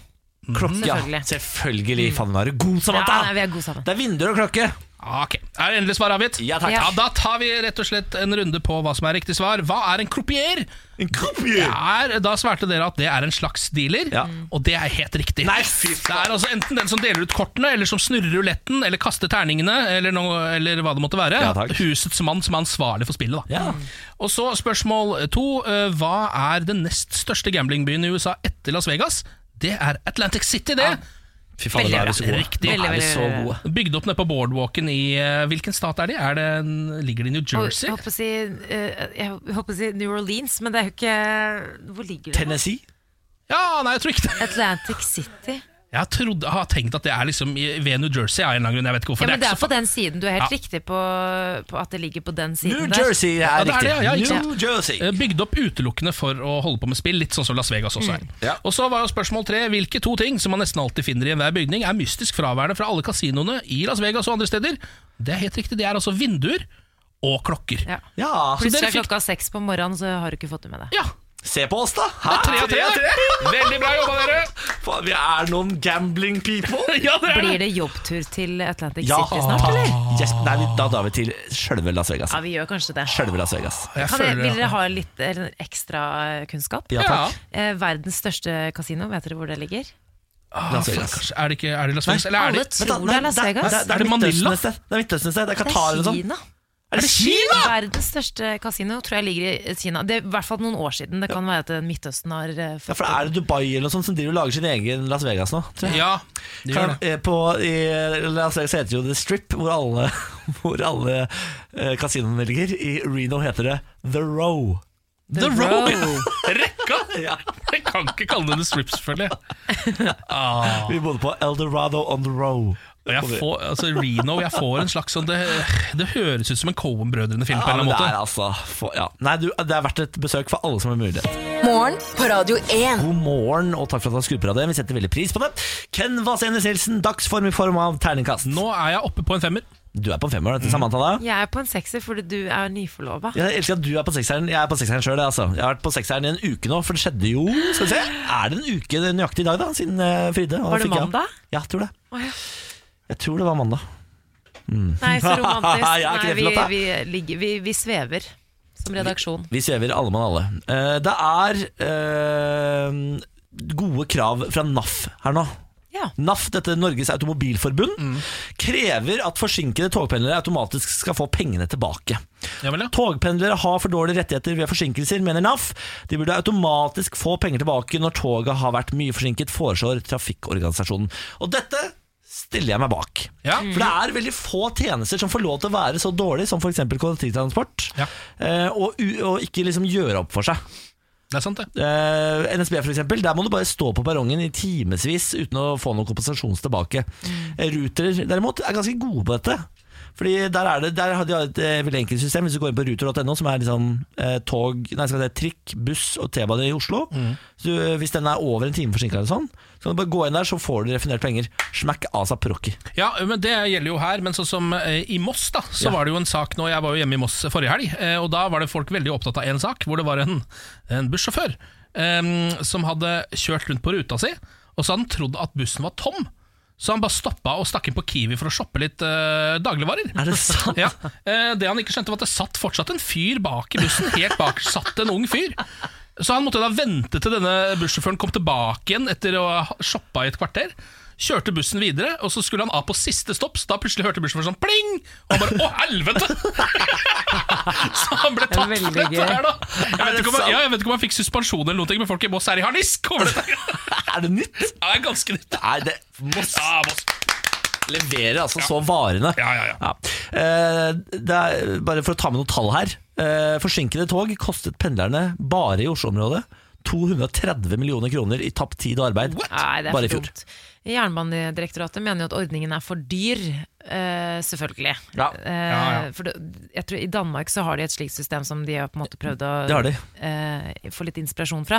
A: Klokke, ja.
B: Mm, Selvfølgelig. Mm.
A: Selvfølgelig. Faen, nå er du god, Samantha!
B: Ja, nei, vi er gode sammen.
A: Det er vinduer og klokke.
C: Ah, Ok, Er endelig svar avgitt? Ja,
A: takk.
C: ja, Da tar vi rett og slett en runde på hva som er riktig svar. Hva er en croupier?
A: En croupier?
C: Det er, da svarte dere at det er en slags dealer, og det er helt riktig. det er altså enten den som deler ut kortene, eller som snurrer ruletten, eller kaster terningene, eller, noe, eller hva det måtte være.
A: Ja, takk.
C: Husets mann som er ansvarlig for spillet. Da.
A: Ja.
C: Og så spørsmål to. eh, Hva er den nest største gamblingbyen i USA etter Las Vegas? Det er Atlantic City, det.
A: Fy faen, da er vi så gode.
C: Riktig.
A: Nå er vi så gode.
C: Bygd opp nede på boardwalken i eh, Hvilken stat er de? Er det, en- ligger de i New
B: Og,
C: Jersey?
B: jeg håper å si, eh, jeg håper å si New Orleans, men det er jo ikke Hvor ligger det? nå?
A: Tennessee?
C: Ja, nei, jeg tror ikke det.
B: Atlantic City.
C: Jeg trodde, har tenkt at det er liksom i- ved New Jersey. av en eller annen grunn, jeg vet ikke
B: Ja,
C: hvorfor
B: men det er
C: ikke
B: på
C: så-
B: den siden. Du er helt
C: Ja.
B: riktig på, på at det ligger på den siden.
A: New
B: der.
A: Jersey er
C: Ja, det
A: riktig.
C: det, ja, ikke sant?
A: New Jersey.
C: Eh, Bygd opp utelukkende for å holde på med spill, litt sånn som Las Vegas også er. Og så var jo spørsmål tre hvilke to ting som man nesten alltid finner i enhver bygning, er mystisk fraværende fra alle kasinoene i Las Vegas og andre steder? Det er helt riktig, det er altså vinduer og klokker.
B: Ja.
A: Ja,
C: Så dere
B: Plutselig er
C: fikk-
B: klokka seks på morgenen, så har du ikke fått det med deg.
C: Ja,
A: Se på oss, da! Hæ?
C: Tre av tre. Veldig bra jobba, dere!
A: Faen, vi er noen gambling people.
B: Blir det jobbtur til Atlantic
A: Ja. ah.
B: City snart, eller?
A: Yes, nei, vi- da drar vi til sjølve Las Vegas.
B: Ja, vi gjør kanskje det.
A: Sjølve Las Vegas.
B: Kan jeg, vil dere ha litt eh, ekstra eh, kunnskap?
A: Ja, takk.
B: Eh, verdens største kasino, vet dere hvor det ligger?
C: Ah,
A: Las
C: fuck,
A: Vegas.
C: ass. Er det ikke er det Las Vegas?
A: Nei,
C: Eller er
B: alle
C: det
B: tror det er Las
A: nei,
B: Vegas.
A: nei,
C: Er det
A: Midtøsten
C: Manila?
A: et sted. Det er Midtøsten et sted. Det er
B: Det
A: Qatar
B: er
A: eller noe
B: Kina.
A: sånt. Er det Kina?!
B: Verdens største kasino tror jeg ligger i Kina. Det er i hvert fall noen år siden. Det kan være at eh, Midtøsten har eh,
A: Ja,
B: fått
A: for er det Dubai eller noe sånt som driver og lager sin egen Las Vegas nå? tror jeg.
C: Ja, det gjør
A: Kan, eh, på, I Las Vegas heter det jo The Strip, hvor alle, hvor alle eh, kasinoene ligger. I Reno heter det The Row.
C: The Row. Rekka! Jeg kan ikke kalle det The Strip, selvfølgelig. Ah.
A: Vi bodde på Eldorado on the Row.
C: Jeg får, altså Reno, jeg får en slags sånn Det, det høres ut som en Coen-brødrene-film. på en
A: Ja,
C: eller
A: men det
C: annen
A: er
C: måte
A: altså for, ja. Nei, du, det er verdt et besøk for alle som har mulighet.
D: Morgen på Radio 1.
A: God morgen, og takk for at du har skrudd på radioen. Vi setter veldig pris på det. Ken Vasenes Nilsen, dagsform i form av terningkast.
C: Nå er jeg oppe på en femmer.
A: Du er på en femmer, dette samme antallet?
B: Jeg er på en sekser fordi du er nyforlova.
A: Jeg elsker at du er på sekseren. Jeg er på sekseren sjøl. Altså. Jeg har vært på sekseren i en uke nå, for det skjedde jo Skal vi se, Er det en uke nøyaktig i dag, da? Siden eh, Fride. og
B: Var det
A: fikk jeg-
B: mandag?
A: Ja, jeg tror det.
B: Å, ja.
A: Jeg tror det var mandag. Mm.
B: Nei, så romantisk.
A: Jeg er ikke
B: Nei,
A: redd
B: vi,
A: for dette.
B: vi, ligger, vi, vi svever som redaksjon.
A: Vi svever alle mann alle. Eh, det er eh, gode krav fra NAF her nå. NAF, dette Norges automobilforbund,
B: Mm.
A: krever at forsinkede togpendlere automatisk skal få pengene tilbake. Togpendlere har for dårlige rettigheter ved forsinkelser, mener NAF. De burde automatisk få penger tilbake når toget har vært mye forsinket, foreslår trafikkorganisasjonen. Og dette stiller jeg meg bak. For det er veldig få tjenester som får lov til å være så dårlig som f.eks. kollektivtransport, eh, og, u- og ikke liksom gjøre opp for seg.
C: Det er sant, det.
A: Eh, NSB for eksempel, der må du bare stå på perrongen i timevis uten å få noen kompensasjon tilbake. Eh, Ruter derimot er ganske gode på dette. Fordi der, er det, der har de et eh, veldig enkelt system. Hvis du går inn på ruter.no, som er liksom, eh, tog, nei, skal jeg si, trikk, buss og T-bane i Oslo så du, Hvis den er over en time forsinka, eller sånn, så kan du bare gå inn der, så får du refundert penger. Smack asa prokki.
C: Ja, men Det gjelder jo her, men sånn som eh, i Moss, da så
A: Ja.
C: var det jo en sak nå Jeg var jo hjemme i Moss forrige helg, eh, og da var det folk veldig opptatt av en sak, hvor det var en, en bussjåfør eh, som hadde kjørt rundt på ruta si, og så hadde han trodd at bussen var tom. Så han bare stoppa og stakk inn på Kiwi for å shoppe litt eh, dagligvarer.
A: Er det sant?
C: Ja. Eh, det han ikke skjønte, var at det satt fortsatt en fyr bak i bussen. Helt bak satt en ung fyr. Så han måtte da vente til denne bussjåføren kom tilbake igjen etter å ha shoppa i et kvarter. Kjørte bussen videre, og så skulle han av på siste stopp, så da plutselig hørte bussjåføren sånn pling! Og han bare 'Å, helvete!' så han ble tatt for
A: veldig
C: dette
A: gøy.
C: her, da. Jeg
A: Er
C: vet,
A: det
C: ikke om han,
A: sant?
C: ja, jeg vet ikke om han fikk suspensjon eller noe, men folk i Moss er i harnisk over dette.
A: er det nytt?
C: Ja, det er ganske nytt.
A: Nei, det Moss
C: Ja, Moss.
A: leverer altså så varene. Ja. Eh, det er, bare for å ta med noen tall her. Eh, forsinkede tog kostet pendlerne bare i Oslo-området 230 millioner kroner i tapt tid og arbeid
B: Nei, det er
A: bare i
B: for
A: fjor.
B: dumt. Jernbanedirektoratet mener jo at ordningen er for dyr. eh, selvfølgelig.
A: Ja.
B: Eh,
A: Ja, ja.
B: For det, jeg tror I Danmark så har de et slikt system som de har på en måte prøvd å
A: Det har de.
B: eh, få litt inspirasjon fra.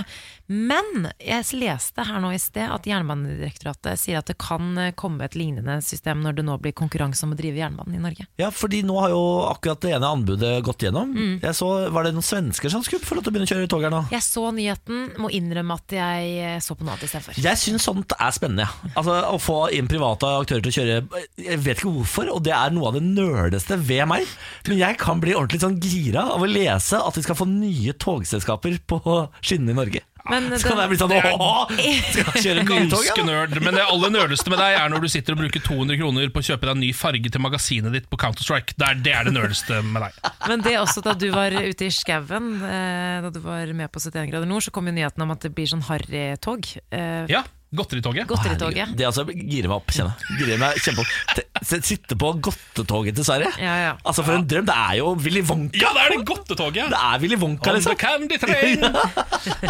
B: Men jeg leste her nå i sted at Jernbanedirektoratet sier at det kan eh, komme et lignende system når det nå blir konkurranse om å drive jernbanen i Norge.
A: Ja, fordi nå har jo akkurat det ene anbudet gått gjennom.
B: Mm.
A: Jeg så, Var det noen svensker som skulle få lov til å begynne å kjøre tog her nå?
B: Jeg så nyheten, må innrømme at jeg eh, så på noe annet istedenfor.
A: Jeg syns sånt er spennende. ja. Altså, å få inn private aktører til å kjøre Jeg vet ikke hvorfor, og det er noe av det nerdeste ved meg. Men jeg kan bli ordentlig sånn gira av å lese at vi skal få nye togselskaper på skinnene i Norge.
B: Men
A: så kan
B: den-
A: jeg bli sånn
B: det er-
A: åh, skal jeg kjøre nye tog,
C: Ganske
A: ja?
C: nerd, men det aller nerdeste med deg er når du sitter og bruker 200 kroner på å kjøpe deg en ny farge til magasinet ditt på Counter-Strike. Det er det, er det nerdeste med deg.
B: Men det er også da du var ute i skauen, eh, da du var med på 71 grader nord, så kom jo nyheten om at det blir sånn harrytog. Eh,
C: Ja, Godteritoget.
B: Godteritoget.
A: Det altså girer meg opp, kjenner jeg. Girer meg kjempeopp. Te- se- Sitte på godtetoget til Sverige.
B: Ja, ja.
A: Altså For en drøm. Det er jo Willy Wonka.
C: Ja, det er det godtetoget!
A: Det er Willy Wonka,
C: On the
A: liksom.
C: candy train!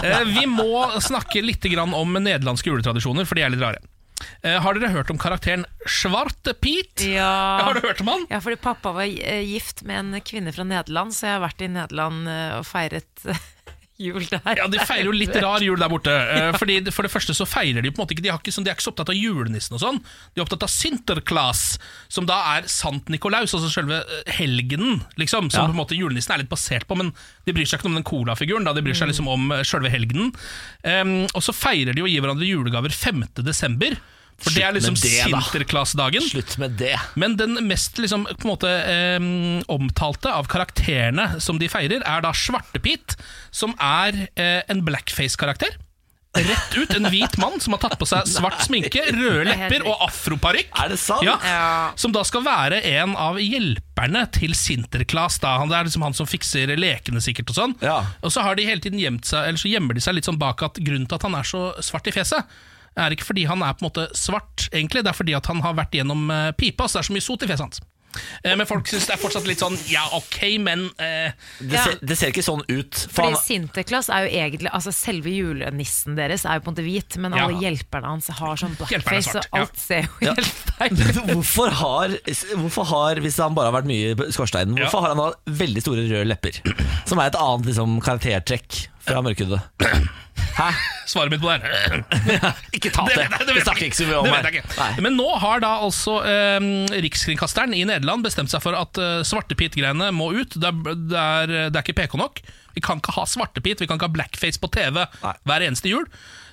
C: Eh, Vi må snakke litt grann om nederlandske juletradisjoner, for de er litt rare. Eh, Har dere hørt om karakteren Svarte Piet?
B: Ja.
C: Har du hørt om han?
B: Ja, fordi pappa var eh, gift med en kvinne fra Nederland, så jeg har vært i Nederland eh, og feiret jul der.
C: Ja, De feirer jo litt rar jul der borte. Eh, Fordi det- For det første så feirer de på en måte ikke De, har ikke sånn, de er ikke så opptatt av julenissen og sånn. De er opptatt av Sinterklaas, som da er Sant Nikolaus, altså selve eh, helgenen, liksom. Som på en måte julenissen er litt basert på, men de bryr seg ikke om den colafiguren. da. De
A: Mm.
C: bryr seg liksom om eh, selve helgenen. Em, og så feirer de å gi hverandre julegaver 5. desember. For det er
A: Slutt
C: liksom
A: med det, da.
C: Sinterklaas-dagen.
A: Slutt med det.
C: Men den mest liksom, på en måte, eh, omtalte av karakterene som de feirer, er da Svartepit, som er eh, en blackface-karakter. Rett ut en hvit mann som har tatt på seg svart sminke, røde lepper og afroparykk. Ja, som da skal være en av hjelperne til Sinterklaas. Da. Han, det er liksom han som fikser lekene sikkert og sånn. Og så har de hele tiden gjemt seg, eller så gjemmer de seg litt sånn bak at grunnen til at han er så svart i fjeset, er ikke fordi han er på en måte svart, egentlig. Det er fordi at han har vært gjennom eh, pipa, så det er så mye sot i fjeset hans. Eh, Men folk syns det er fortsatt litt sånn ja, ok, men eh,
A: Det ser, det ser ikke sånn ut.
B: Fordi
A: Faen.
B: Sinterklaas er jo egentlig Altså Selve julenissen deres er jo på en måte hvit, men
A: Ja.
B: alle hjelperne hans har sånn
A: Hjelperne er
B: blackface,
A: svart,
B: og alt ser jo
A: Ja.
B: helt
A: Hvorfor har, hvorfor har, hvis han bare har vært mye i skorsteinen, hvorfor har han da veldig store røde lepper? Som er et annet liksom, karaktertrekk fra mørkhudede. Hæ?
C: Svaret mitt på det er
A: Ikke ta
C: Det
A: det!
C: vet jeg- det vet
A: Vi
C: jeg
A: snakker
C: ikke.
A: ikke så mye om
C: Det vet jeg
A: her.
C: ikke.
A: Nei.
C: Men nå har da altså eh, Rikskringkasteren i Nederland bestemt seg for at eh, svartepit-greiene må ut. Det er, det, er, det er ikke PK nok. Vi kan ikke ha svartepit, vi kan ikke ha blackface på TV hver eneste jul.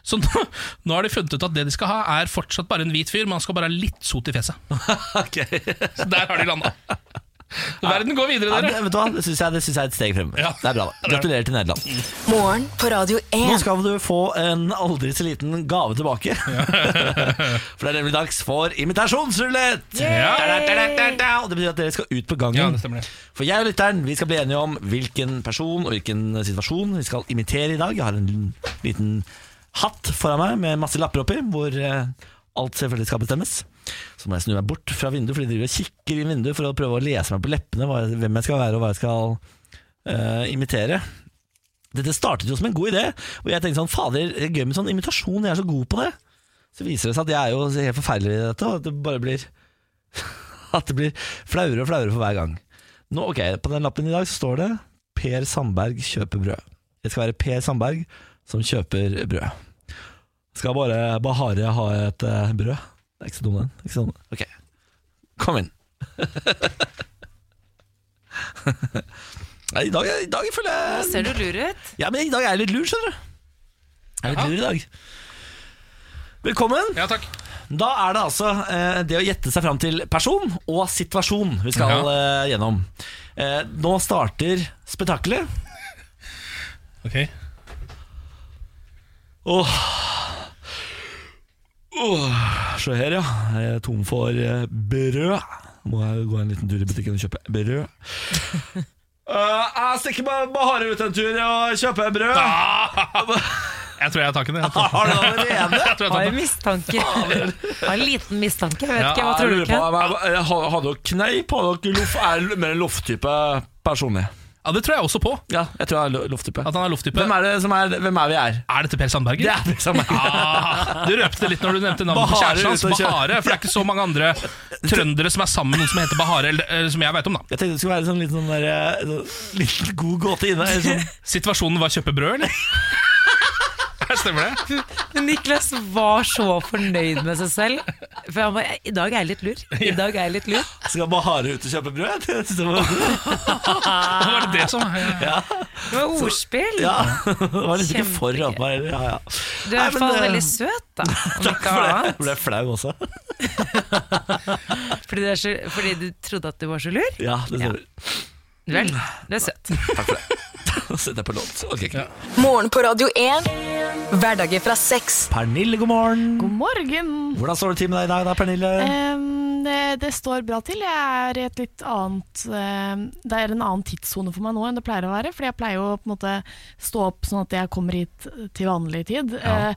C: Så nå, nå har de funnet ut at det de skal ha, er fortsatt bare en hvit fyr, men han skal bare ha litt sot i fjeset. Så der har de landa. Verden går videre,
A: Ja,
C: dere.
A: det, vet du hva? Det syns jeg, det synes jeg er et steg fremover. Det er bra. da Gratulerer til
C: Mm.
A: Nederland.
D: Morgen på Radio 1.
A: Nå skal du få en aldri så liten gave tilbake. for det er nemlig dags for invitasjonsrulett!
C: Ja.
A: Da, da, da, da, da. Og det betyr at dere skal ut på gangen. For jeg og lytteren vi skal bli enige om hvilken person og hvilken situasjon vi skal imitere i dag. Jeg har en liten hatt foran meg med masse lapper oppi, hvor eh, alt selvfølgelig skal bestemmes. Så må jeg snu meg bort fra vinduet, for de driver og kikker i vinduet for å prøve å lese meg på leppene hva, hvem jeg skal være og hva jeg skal eh, imitere. Dette startet jo som en god idé, og jeg tenkte sånn, fader, det er gøy med sånn imitasjon, jeg er så god på det. Så viser det seg at jeg er jo helt forferdelig i dette, og at det bare blir, at det blir flauere og flauere for hver gang. Nå, ok, på den lappen i dag så står det, Per Sandberg kjøper brød. Det skal være Per Sandberg som kjøper brød. Skal bare Bahare ha et eh, brød? Det er ikke så dum den. det er Ikke så dum. den. Ok, kom inn. Nei, I dag, i dag føler jeg...
B: Nå ser du lur ut.
A: Ja, men i dag er jeg litt lur, skjønner du. Jeg er litt lur i dag. Velkommen.
C: Ja, takk.
A: Da er det altså eh, det å gjette seg fram til person og situasjon vi skal eh, gjennom. Eh, nå starter spetakkelet.
C: Ok.
A: Åh. Åh. Se her, ja. Jeg er tom for eh, brød. Må jeg gå en liten tur i butikken og kjøpe brød. Eh, jeg stikker bare Bahare ut en tur og kjøper brød.
C: Jeg tror jeg har taken i det.
A: Har du det allerede?
C: Jeg tror jeg
B: Har
C: har
B: en
C: tatt det.
B: mistanke. Har en liten mistanke. Jeg vet
A: Ja,
B: ikke, Hva tror du,
A: jeg eh, lurer
B: Ken?
A: på, hva- hva- Har har dere kneip? Har dere loff? Er det mer en lofftype personlig?
C: Ja, Det tror jeg også på.
A: Ja, jeg tror jeg er lo- lofftype.
C: At han er lofttype.
A: Hvem er det som er, hvem er vi er?
C: Er dette Per Sandberger?
A: Det er Per Sandberger.
C: Ah, du røpte det litt når du nevnte navnet på
A: Bahare
C: kjæresten hans.
A: ute og kjører.
C: Bahare, for det er ikke så mange andre trøndere som er sammen med noen som heter Bahare, eller, eller som jeg vet om, da.
A: Jeg tenkte det skulle være sånn litt sånn der, eh, sånn, litt god gåte inne. eller Sånn.
C: Situasjonen var kjøpe brød, eller? Stemmer det?
B: Men Niklas var så fornøyd med seg selv. For han var I dag er jeg litt lur. I dag er jeg litt lur.
A: Skal Bahare ut og kjøpe brød? Det synes jeg
C: Hva var det det som
A: Ja.
B: Det var ordspill.
A: ja. Det var liksom ikke for at man ja, ja.
B: Du er i hvert
A: Nei, men,
B: fall
A: eh,
B: veldig søt, da. Om
A: Takk
B: ikke
A: for det.
B: annet.
A: Jeg ble flau også.
B: Fordi, det er så, fordi du trodde at du var så lur?
A: Ja, det stemmer.
B: Vel,
A: Mm.
B: du er søt.
A: Takk for det. Nå setter jeg på låt. Orker ikke.
D: Morgen på Radio 1. Hverdager fra seks.
A: Pernille, god morgen.
Q: God morgen!
A: Hvordan står det til med deg i dag da,
Q: Eh,
A: Pernille?
Q: Em, det, det står bra til. Jeg er i et litt annet em, Det er en annen tidssone for meg nå enn det pleier å være. Fordi jeg pleier jo på en måte stå opp sånn at jeg kommer hit til vanlig tid. Eh,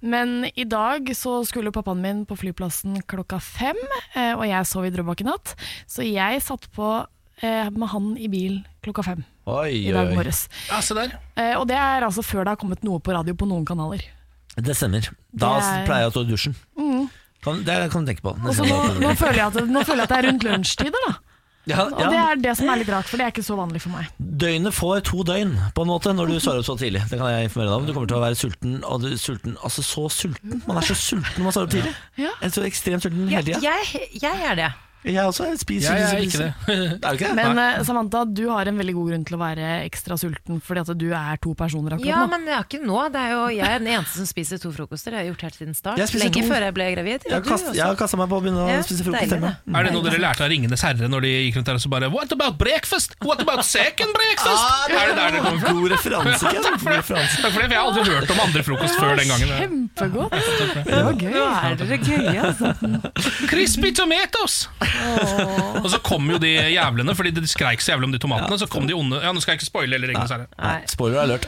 Q: men i dag så skulle pappaen min på flyplassen klokka fem, eh, og jeg sov i Drøbak i natt. Så jeg satt på eh, med han i bil klokka fem i dag morges.
C: Ja, se der.
Q: Eh, og det er altså før det har kommet noe på radio på noen kanaler.
A: Det stemmer. Da
Q: Det er-
A: pleier jeg å stå i dusjen.
Q: Mm.
A: Kan, det kan du tenke på.
Q: Og så nå, nå, føler jeg at, nå føler jeg at det er rundt lunsjtider, da.
A: Ja,
Q: Og
A: ja.
Q: det er det som er litt rart, for det er ikke så vanlig for meg.
A: Døgnet får to døgn på en måte når du står opp så tidlig. Det kan jeg informere deg om. Du kommer til å være sulten, og du, sulten altså så sulten. Man er så sulten når man står opp tidlig. Jeg er så ekstremt sulten hele tida.
B: Jeg, jeg er det.
A: Jeg også jeg spiser,
C: Jeg er
A: spiser,
C: ikke
A: spiser. Er du ikke det?
Q: Men
A: Nei.
Q: eh, Samantha, du har en veldig god grunn til å være ekstra sulten, fordi at du er to personer akkurat
B: Ja,
Q: nå.
B: men jeg er ikke nå. Det er jo, jeg er den eneste som spiser to frokoster. Det har jeg gjort helt siden start.
A: Jeg spiser
B: Lenge
A: to.
B: før jeg ble gravid.
A: Jeg har
B: du
A: kast-
B: også.
A: jeg har kasta meg på å begynne å
B: Ja,
A: spise frokost
B: deilig,
A: hjemme.
B: det.
C: Er det noe dere lærte av Ringenes herre når de gikk rundt der og så bare What about breakfast? What about second breakfast?
A: Ah, det-
C: er det der det kommer fra?
A: God referanse, Ken.
C: Takk for det. Takk for det, for jeg har aldri hørt om andre frokost før den gangen.
Q: Kjempegodt! Det var gøy. Nå er dere gøye, altså.
C: Crispy tomatoes! Og så kom jo de jævlene, fordi de skreik så jævlig om de tomatene. Så kom de onde Ja, nå skal jeg ikke spoile eller Ringenes herre.
A: Nei, Spoiler alert.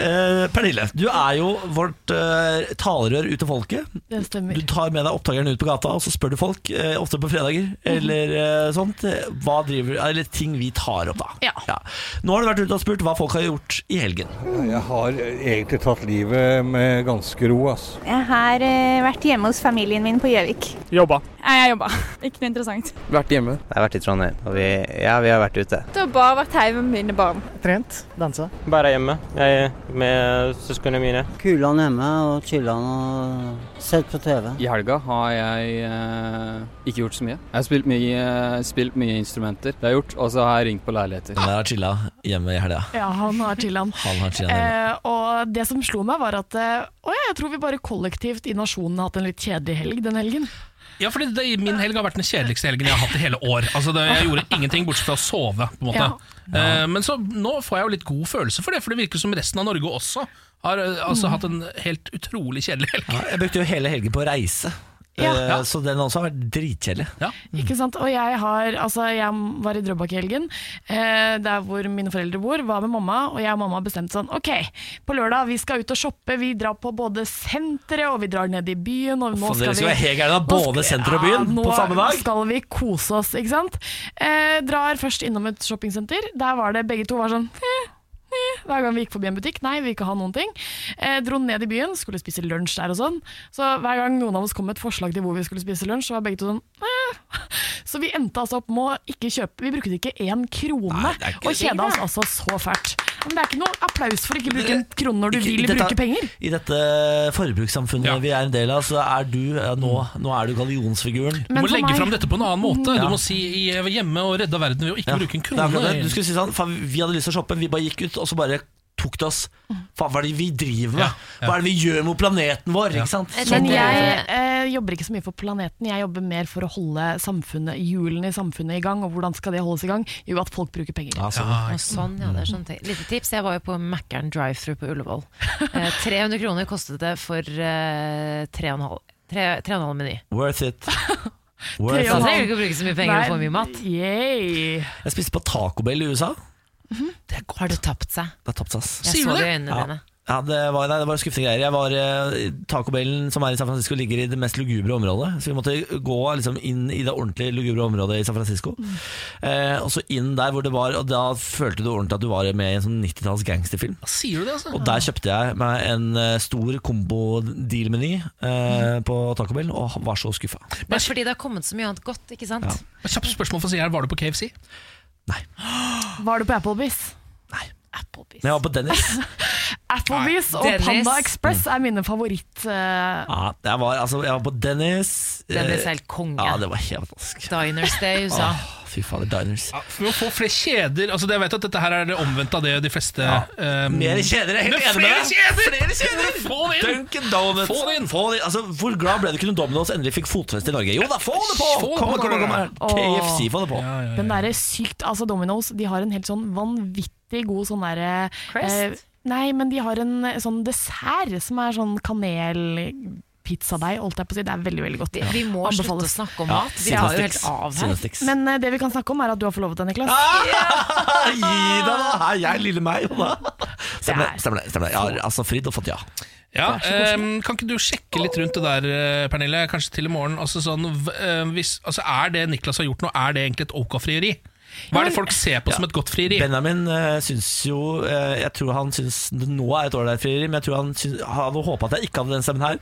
A: Eh, Pernille, du er jo vårt eh, talerør ut til folket.
Q: Det stemmer.
A: Du tar med deg oppdageren ut på gata, og så spør du folk, eh, ofte på fredager
Q: Mhm.
A: eller eh, sånt, eh, hva driver, eller ting vi tar opp, da. Ja. Nå har du vært ute og spurt hva folk har gjort i helgen.
R: Jeg har egentlig tatt livet med ganske ro, ass.
S: Jeg har eh, vært hjemme hos familien min på Gjøvik.
T: Jobba.
S: Nei, jeg jobba. Ikke noe interessant.
T: Vært hjemme.
U: Jeg har vært i Trondheim, og vi, ja, vi har vært ute.
S: Det har bare vært hjemme med mine barn.
T: Trent. Dansa.
U: Bare hjemme, jeg er med søsknene mine.
V: Kulan hjemme og chillan og sett på TV.
T: I helga har jeg eh, ikke gjort så mye. Jeg har spilt mye, eh, spilt mye instrumenter, det har jeg gjort, og så har jeg ringt på leiligheter.
A: Han har chilla hjemme i helga.
Q: Ja, han har chilla'n.
A: Han har chilla hjemme.
Q: Eh, og det som slo meg, var at eh, å ja, jeg tror vi bare kollektivt i nasjonen har hatt en litt kjedelig helg den helgen.
C: Ja, fordi det, Min helg har vært den kjedeligste helgen jeg har hatt i hele år. Altså, det, Jeg gjorde ingenting bortsett fra å sove. på en måte
Q: Ja.
C: Eh, Men så nå får jeg jo litt god følelse for det, for det virker som resten av Norge også har eh, altså, hatt en helt utrolig kjedelig helg.
A: Ja, Jeg brukte jo hele helgen på å reise,
Q: Ja.
A: eh,
Q: Ja.
A: så den også har vært dritkjedelig.
Q: Ikke sant? Og jeg, har, altså, jeg var i Drøbak i helgen, eh, der hvor mine foreldre bor, var med mamma, og jeg og mamma bestemte sånn, ok, på lørdag vi skal ut og shoppe, vi drar på både senteret, og vi drar ned i byen, og nå
A: Faen,
Q: skal
A: dere
Q: vi...
A: skal være helt gærne da,
Q: Nå
A: både
Q: skal-
A: senter og byen
Q: nå
A: på samme dag?
Q: skal vi kose oss, ikke sant? Eh, drar først innom et shoppingsenter, der var det begge to var sånn, eh, eh, hver gang vi gikk forbi en butikk, nei, vi vil ikke ha noen ting. Eh, dro ned i byen, skulle spise lunsj der og sånn. Så hver gang noen av oss kom med et forslag til hvor vi skulle spise lunsj, så var begge to sånn, eh, så vi endte altså opp med å ikke kjøpe Vi brukte ikke én krone,
A: det er ikke-
Q: og kjeda oss altså så fælt. Men det er ikke noe applaus for å ikke bruke en krone når du
A: Ikke-
Q: vil
A: dette-
Q: bruke penger.
A: I dette forbrukssamfunnet vi er en del av, så er du eh, nå, nå er du gallionsfiguren.
C: Du må legge fram dette på en annen måte.
A: Ja.
C: Du må si i, jeg var hjemme og redda verden ved å ikke
A: Ja,
C: bruke en
A: det er
C: krone.
A: akkurat det. Du skulle si sånn, faen, vi hadde lyst til å shoppe, vi bare gikk ut, og så bare tok det oss. Faen, hva er det vi driver med? Hva er det vi gjør mot planeten vår? Ikke sant?
Q: Men
A: Sånn-
Q: jeg eh, jobber ikke så mye for planeten, jeg jobber mer for å holde samfunnet, hjulene i samfunnet i gang. Og hvordan skal det holdes i gang? Jo, at folk bruker penger.
A: Altså,
B: Og sånn, ja, det er sånn ting. Lite tips, jeg var jo på Mækkern drive-thru på Ullevål. Eh, 300 kroner kostet det for eh, tre og en halv- tre- tre og en halv meny.
A: Worth it.
B: Så
A: Worth
B: trenger du
A: it.
B: ikke å bruke så mye penger og få mye mat.
A: Jeg spiste på Taco Bell i USA.
B: Har du tapt seg?
A: Det har tapt seg. ass.
B: Jeg Sier så du det? det i øynene
A: ja.
B: dine.
A: Ja, det var, nei, det var skuffende greier. Jeg var, eh, Taco Bellen som er i San Francisco ligger i det mest lugubre området. Så vi måtte gå liksom, inn i det ordentlig lugubre området i San Francisco. Eh, og så inn der hvor det var, og da følte du ordentlig at du var med i en sånn 90-talls gangsterfilm.
C: Sier du det, altså?
A: Og der kjøpte jeg meg en eh, stor combo-deal-meny eh, på Taco Bell, og var så skuffa.
B: Det er fordi det har kommet så mye annet godt, ikke sant?
C: Kjapt spørsmål for å si her, var du på KFC?
Q: Var du på Applebees?
A: Men jeg var på Dennis.
Q: Applebees
A: Nei.
Q: og
A: Dennis.
Q: Panda Express
A: Mm.
Q: er mine favoritt... Eh,
A: Ja, jeg, var, altså, jeg var på Dennis.
Q: Dennis er
A: helt konge. Eh, Ja, det var Ah, helt fantastisk.
B: Diners Day i USA.
A: Åh, fy fader, diners.
C: For å få flere kjeder altså det, Jeg vet at dette her er det omvendte av det de fleste um,
A: Mer kjeder, jeg er helt enig
C: Men
A: med
C: flere
A: deg.
C: kjeder!
A: Flere kjeder!
C: Få det inn!
A: Dunkin Donuts.
C: Få det inn!
A: Få det inn. Altså, hvor glad ble du ikke når Domino's endelig fikk fotfeste i Norge? Jo da, få det på!
C: Få det på,
A: Kom, kom, kom,
C: da.
A: kom. KFC, få det på.
Q: Den derre sykt Altså, Domino's, de har en helt sånn vanvittig god sånn derre eh,
B: Crust?
Q: Nei, men de har en eh, sånn dessert som er sånn kanel pizzadeig, holdt jeg på å si. Det er veldig veldig godt.
B: Vi- vi må slutte å
Q: Anbefales.
B: snakke om Ja, mat. Vi tar jo helt sinnasticks. av her. Sinnasticks.
Q: Men eh, det vi kan snakke om, er at du har forlovet deg, Niklas.
A: Gi deg, da! Her, jeg, lille meg. jo da. Stemmer det. stemmer det, stemmer det. Jeg har altså fridd og fått ja.
C: Ja,
A: Det er så koselig.
C: ehm, kan ikke du sjekke litt rundt det der, eh, Pernille? Kanskje til i morgen. Altså, sånn, v- ehm, hvis, altså, er det Niklas har gjort nå, er det egentlig et ok frieri? Hva er det folk ser på som et godt frieri?
A: Benjamin uh, syns jo eh, Jeg tror han syns det nå er et ålreit frieri, men jeg tror han syns, hadde håpa at jeg ikke hadde den stemmen her.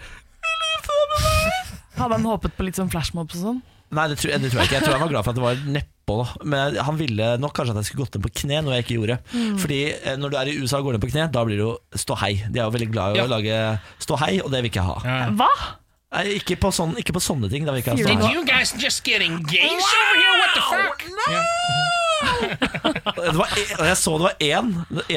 Q: Hadde han håpet på litt sånn flashmobs og sånn?
A: Nei, det tror, det tror jeg ikke. Jeg tror han var glad for at det var neppe på nå, men han ville nok kanskje at jeg skulle gått ned på kne, noe jeg ikke gjorde.
E: Mm.
A: Fordi eh, når du er i USA og går ned på kne, da blir det jo ståhei. De er jo veldig glad i å lage ståhei, og det vil ikke jeg ha.
Q: Hva?
A: Nei, ikke, på sånn, ikke på sånne ting. Da vil ikke jeg ha
F: Did
A: ståhei.
F: you guys just get engaged over here? What the fuck?
A: Det var en, og jeg så det var én.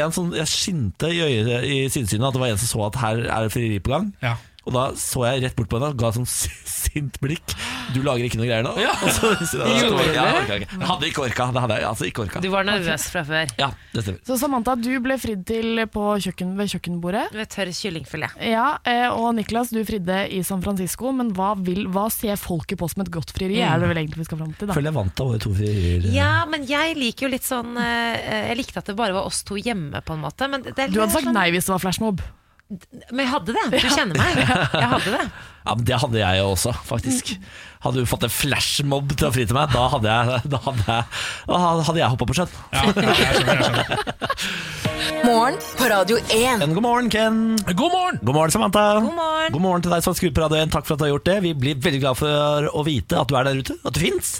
A: En som, jeg skinte i, øyet, i sidesynet at det var en som så at her er det frieri på gang. Og da så jeg rett bort på henne og ga et sånn sint blikk. Du lager ikke noe greier nå? Og så, så, da-
B: Gjorde du det?
A: ja, jeg orka ikke. Jeg hadde ikke orka. Det hadde jeg altså ikke orka.
B: Du var nervøs fra før.
A: Ja, det stemmer.
Q: Så Samantha, du ble fridd til på kjøkken, ved kjøkkenbordet.
B: Ved tørr kyllingfilet.
Q: Ja, eh, og Niklas, du fridde i San Francisco, men hva, vil, hva ser folket på som et godt frieri?
B: Mm.
Q: Er det vel egentlig vi skal fram til, da?
A: Føler jeg vant av våre to frierier.
B: Ja, men jeg liker jo litt sånn eh, Jeg likte at det bare var oss to hjemme, på en måte. Men, det, det er
Q: Du hadde
B: litt
Q: sagt nei hvis det var flashmob.
B: sånn, men jeg hadde det. Du kjenner meg. Jeg hadde det.
A: Ja, men Det hadde jeg jo også, faktisk. Hadde du fått en flashmob til å fri til meg, da hadde jeg, da hadde jeg, da hadde jeg hoppa på sjøen.
D: Morgen på Radio 1.
A: God morgen, Ken.
C: God morgen.
A: God morgen, Samantha.
D: God morgen.
A: God morgen til deg som skrur på Radio 1. Takk for at du har gjort det. Vi blir veldig glad for å vite at du er der ute, at du fins,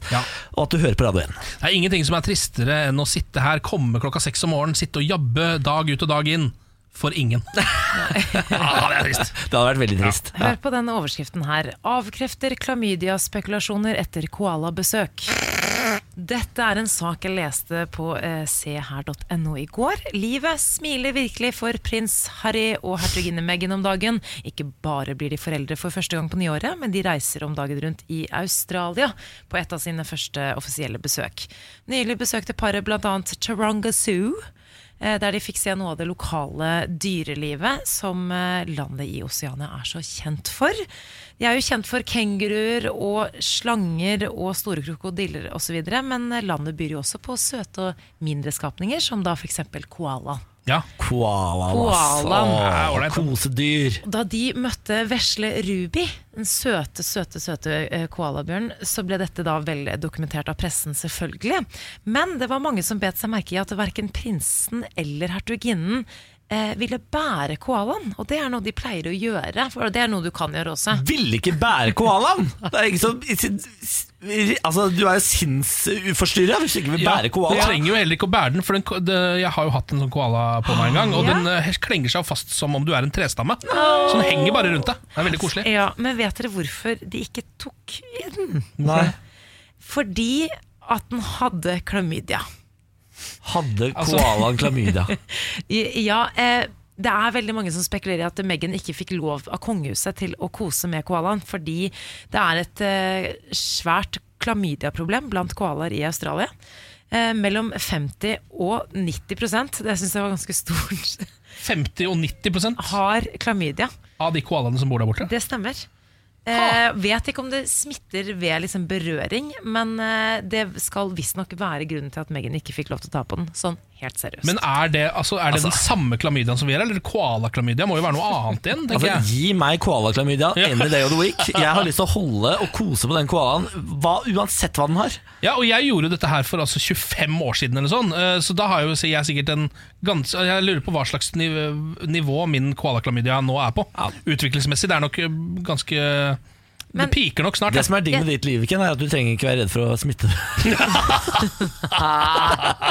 A: og at du hører på Radio 1.
C: Det er ingenting som er tristere enn å sitte her, komme klokka seks om morgenen, sitte og jabbe dag ut og dag inn. For ingen. ah, det er trist.
A: Det hadde vært veldig trist.
B: Hør på denne overskriften her. Avkrefter klamydia-spekulasjoner etter koalabesøk. Dette er en sak jeg leste på eh, seher.no i går. Livet smiler virkelig for prins Harry og hertuginne Meghan om dagen. Ikke bare blir de foreldre for første gang på nyåret, men de reiser om dagen rundt i Australia på et av sine første offisielle besøk. Nylig besøkte paret bl.a. Taronga Zoo. Eh, Der de fikk se noe av det lokale dyrelivet som eh, landet i Oseania er så kjent for. De er jo kjent for kenguruer og slanger og store krokodiller osv., men landet byr jo også på søte og mindre skapninger, som da f.eks. koalaen.
C: Ja.
A: Koalaen,
B: Koalaen.
A: ass. Åh, Kosedyr.
B: Da de møtte vesle Ruby, den søte, søte, søte eh, koalabjørnen, så ble dette da vel dokumentert av pressen, selvfølgelig. Men det var mange som bet seg merke i at verken prinsen eller hertuginnen eh, ville bære koalaen. Og det er noe de pleier å gjøre, for det er noe du kan gjøre også.
A: Ville ikke bære koalaen! Det er sånn, ingen som Altså, du er jo sinnsforstyrra hvis du ikke vil bære
C: Jeg
A: koalaen.
C: trenger jo heller ikke å bære den, for den, ko- det, jeg har jo hatt en sånn koala på meg en gang. Og
B: Ja.
C: den eh, klenger seg fast som om du er en trestamme.
B: Åh.
C: Så den henger bare rundt deg. Det er veldig koselig.
B: Ja, Men vet dere hvorfor de ikke tok i den?
A: Nei.
B: Fordi at den hadde klamydia.
A: Hadde
B: Altså-
A: koalaen klamydia?
B: Ja, eh, det er veldig mange som spekulerer i at Meghan ikke fikk lov av kongehuset til å kose med koalaen, fordi det er et eh, svært klamydiaproblem blant koalaer i Australia. Eh, mellom 50 og 90 prosent, det syns jeg var ganske stort,
C: 50 og 90
B: har klamydia.
C: Av de koalaene som bor der borte.
B: Det stemmer. Eh, vet ikke om det smitter ved liksom berøring, men eh, det skal visstnok være grunnen til at Meghan ikke fikk lov til å ta på den. Sånn helt seriøst.
C: Men er det, altså, er det den samme klamydiaen som vi er, eller koalaklamydia? Må jo være noe annet igjen, tenker
A: Altså,
C: jeg.
A: gi meg koalaklamydia any day of the week. Jeg har lyst til å holde og kose på den koalaen hva- uansett hva den har.
C: Ja, og jeg gjorde jo dette her for altså 25 år siden eller sånn, eh, så da har jeg jo så jeg er sikkert en gans, Jeg lurer på hva slags niv- nivå min koalaklamydia nå er på. Utviklingsmessig. Det er nok eh, ganske Det piker nok snart.
A: Det som er digg med ditt liv, Ken, er at du trenger ikke være redd for å smitte.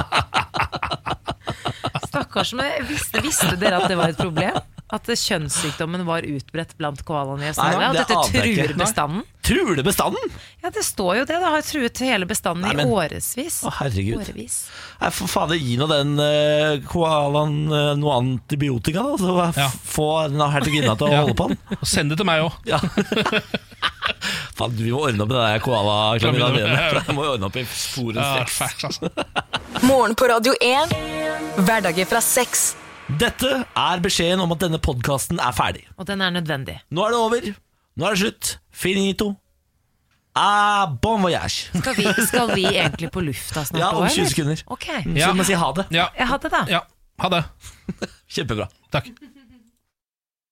B: Stakkars, men visste, visste dere at det var et problem? At eh, kjønnssykdommen var utbredt blant koalaene i Australia?
A: Nei, det
B: At dette
A: aner jeg ikke.
B: truer bestanden?
A: Truer det bestanden?
B: Ja, det står jo det. Det har truet hele bestanden
A: Nei, men-
B: i årevis.
A: Å, herregud.
B: Årevis.
A: Nei, for fader, gi nå den eh, koalaen eh, noe antibiotika, da. Så f- få den hertuginna til å holde på den.
C: Og send det til meg òg.
A: Faen, vi må ordne opp i det der koalaklamydiaen. din. Det må vi ordne opp i sporen
C: Ja,
A: streks.
D: Morgen på Radio 1. Hverdager fra seks.
A: Dette er beskjeden om at denne podkasten er ferdig.
B: Og den er nødvendig.
A: Nå er det over. Nå er det slutt. Finito. Ah, bon voyage.
B: Skal vi, skal vi egentlig på lufta snart?
A: Ja, om
B: også,
A: 20
B: eller?
A: sekunder.
B: Ok.
A: Så vi må si ha det.
B: Ja, ha det da.
C: Ha det.
A: Kjempebra.
C: Takk.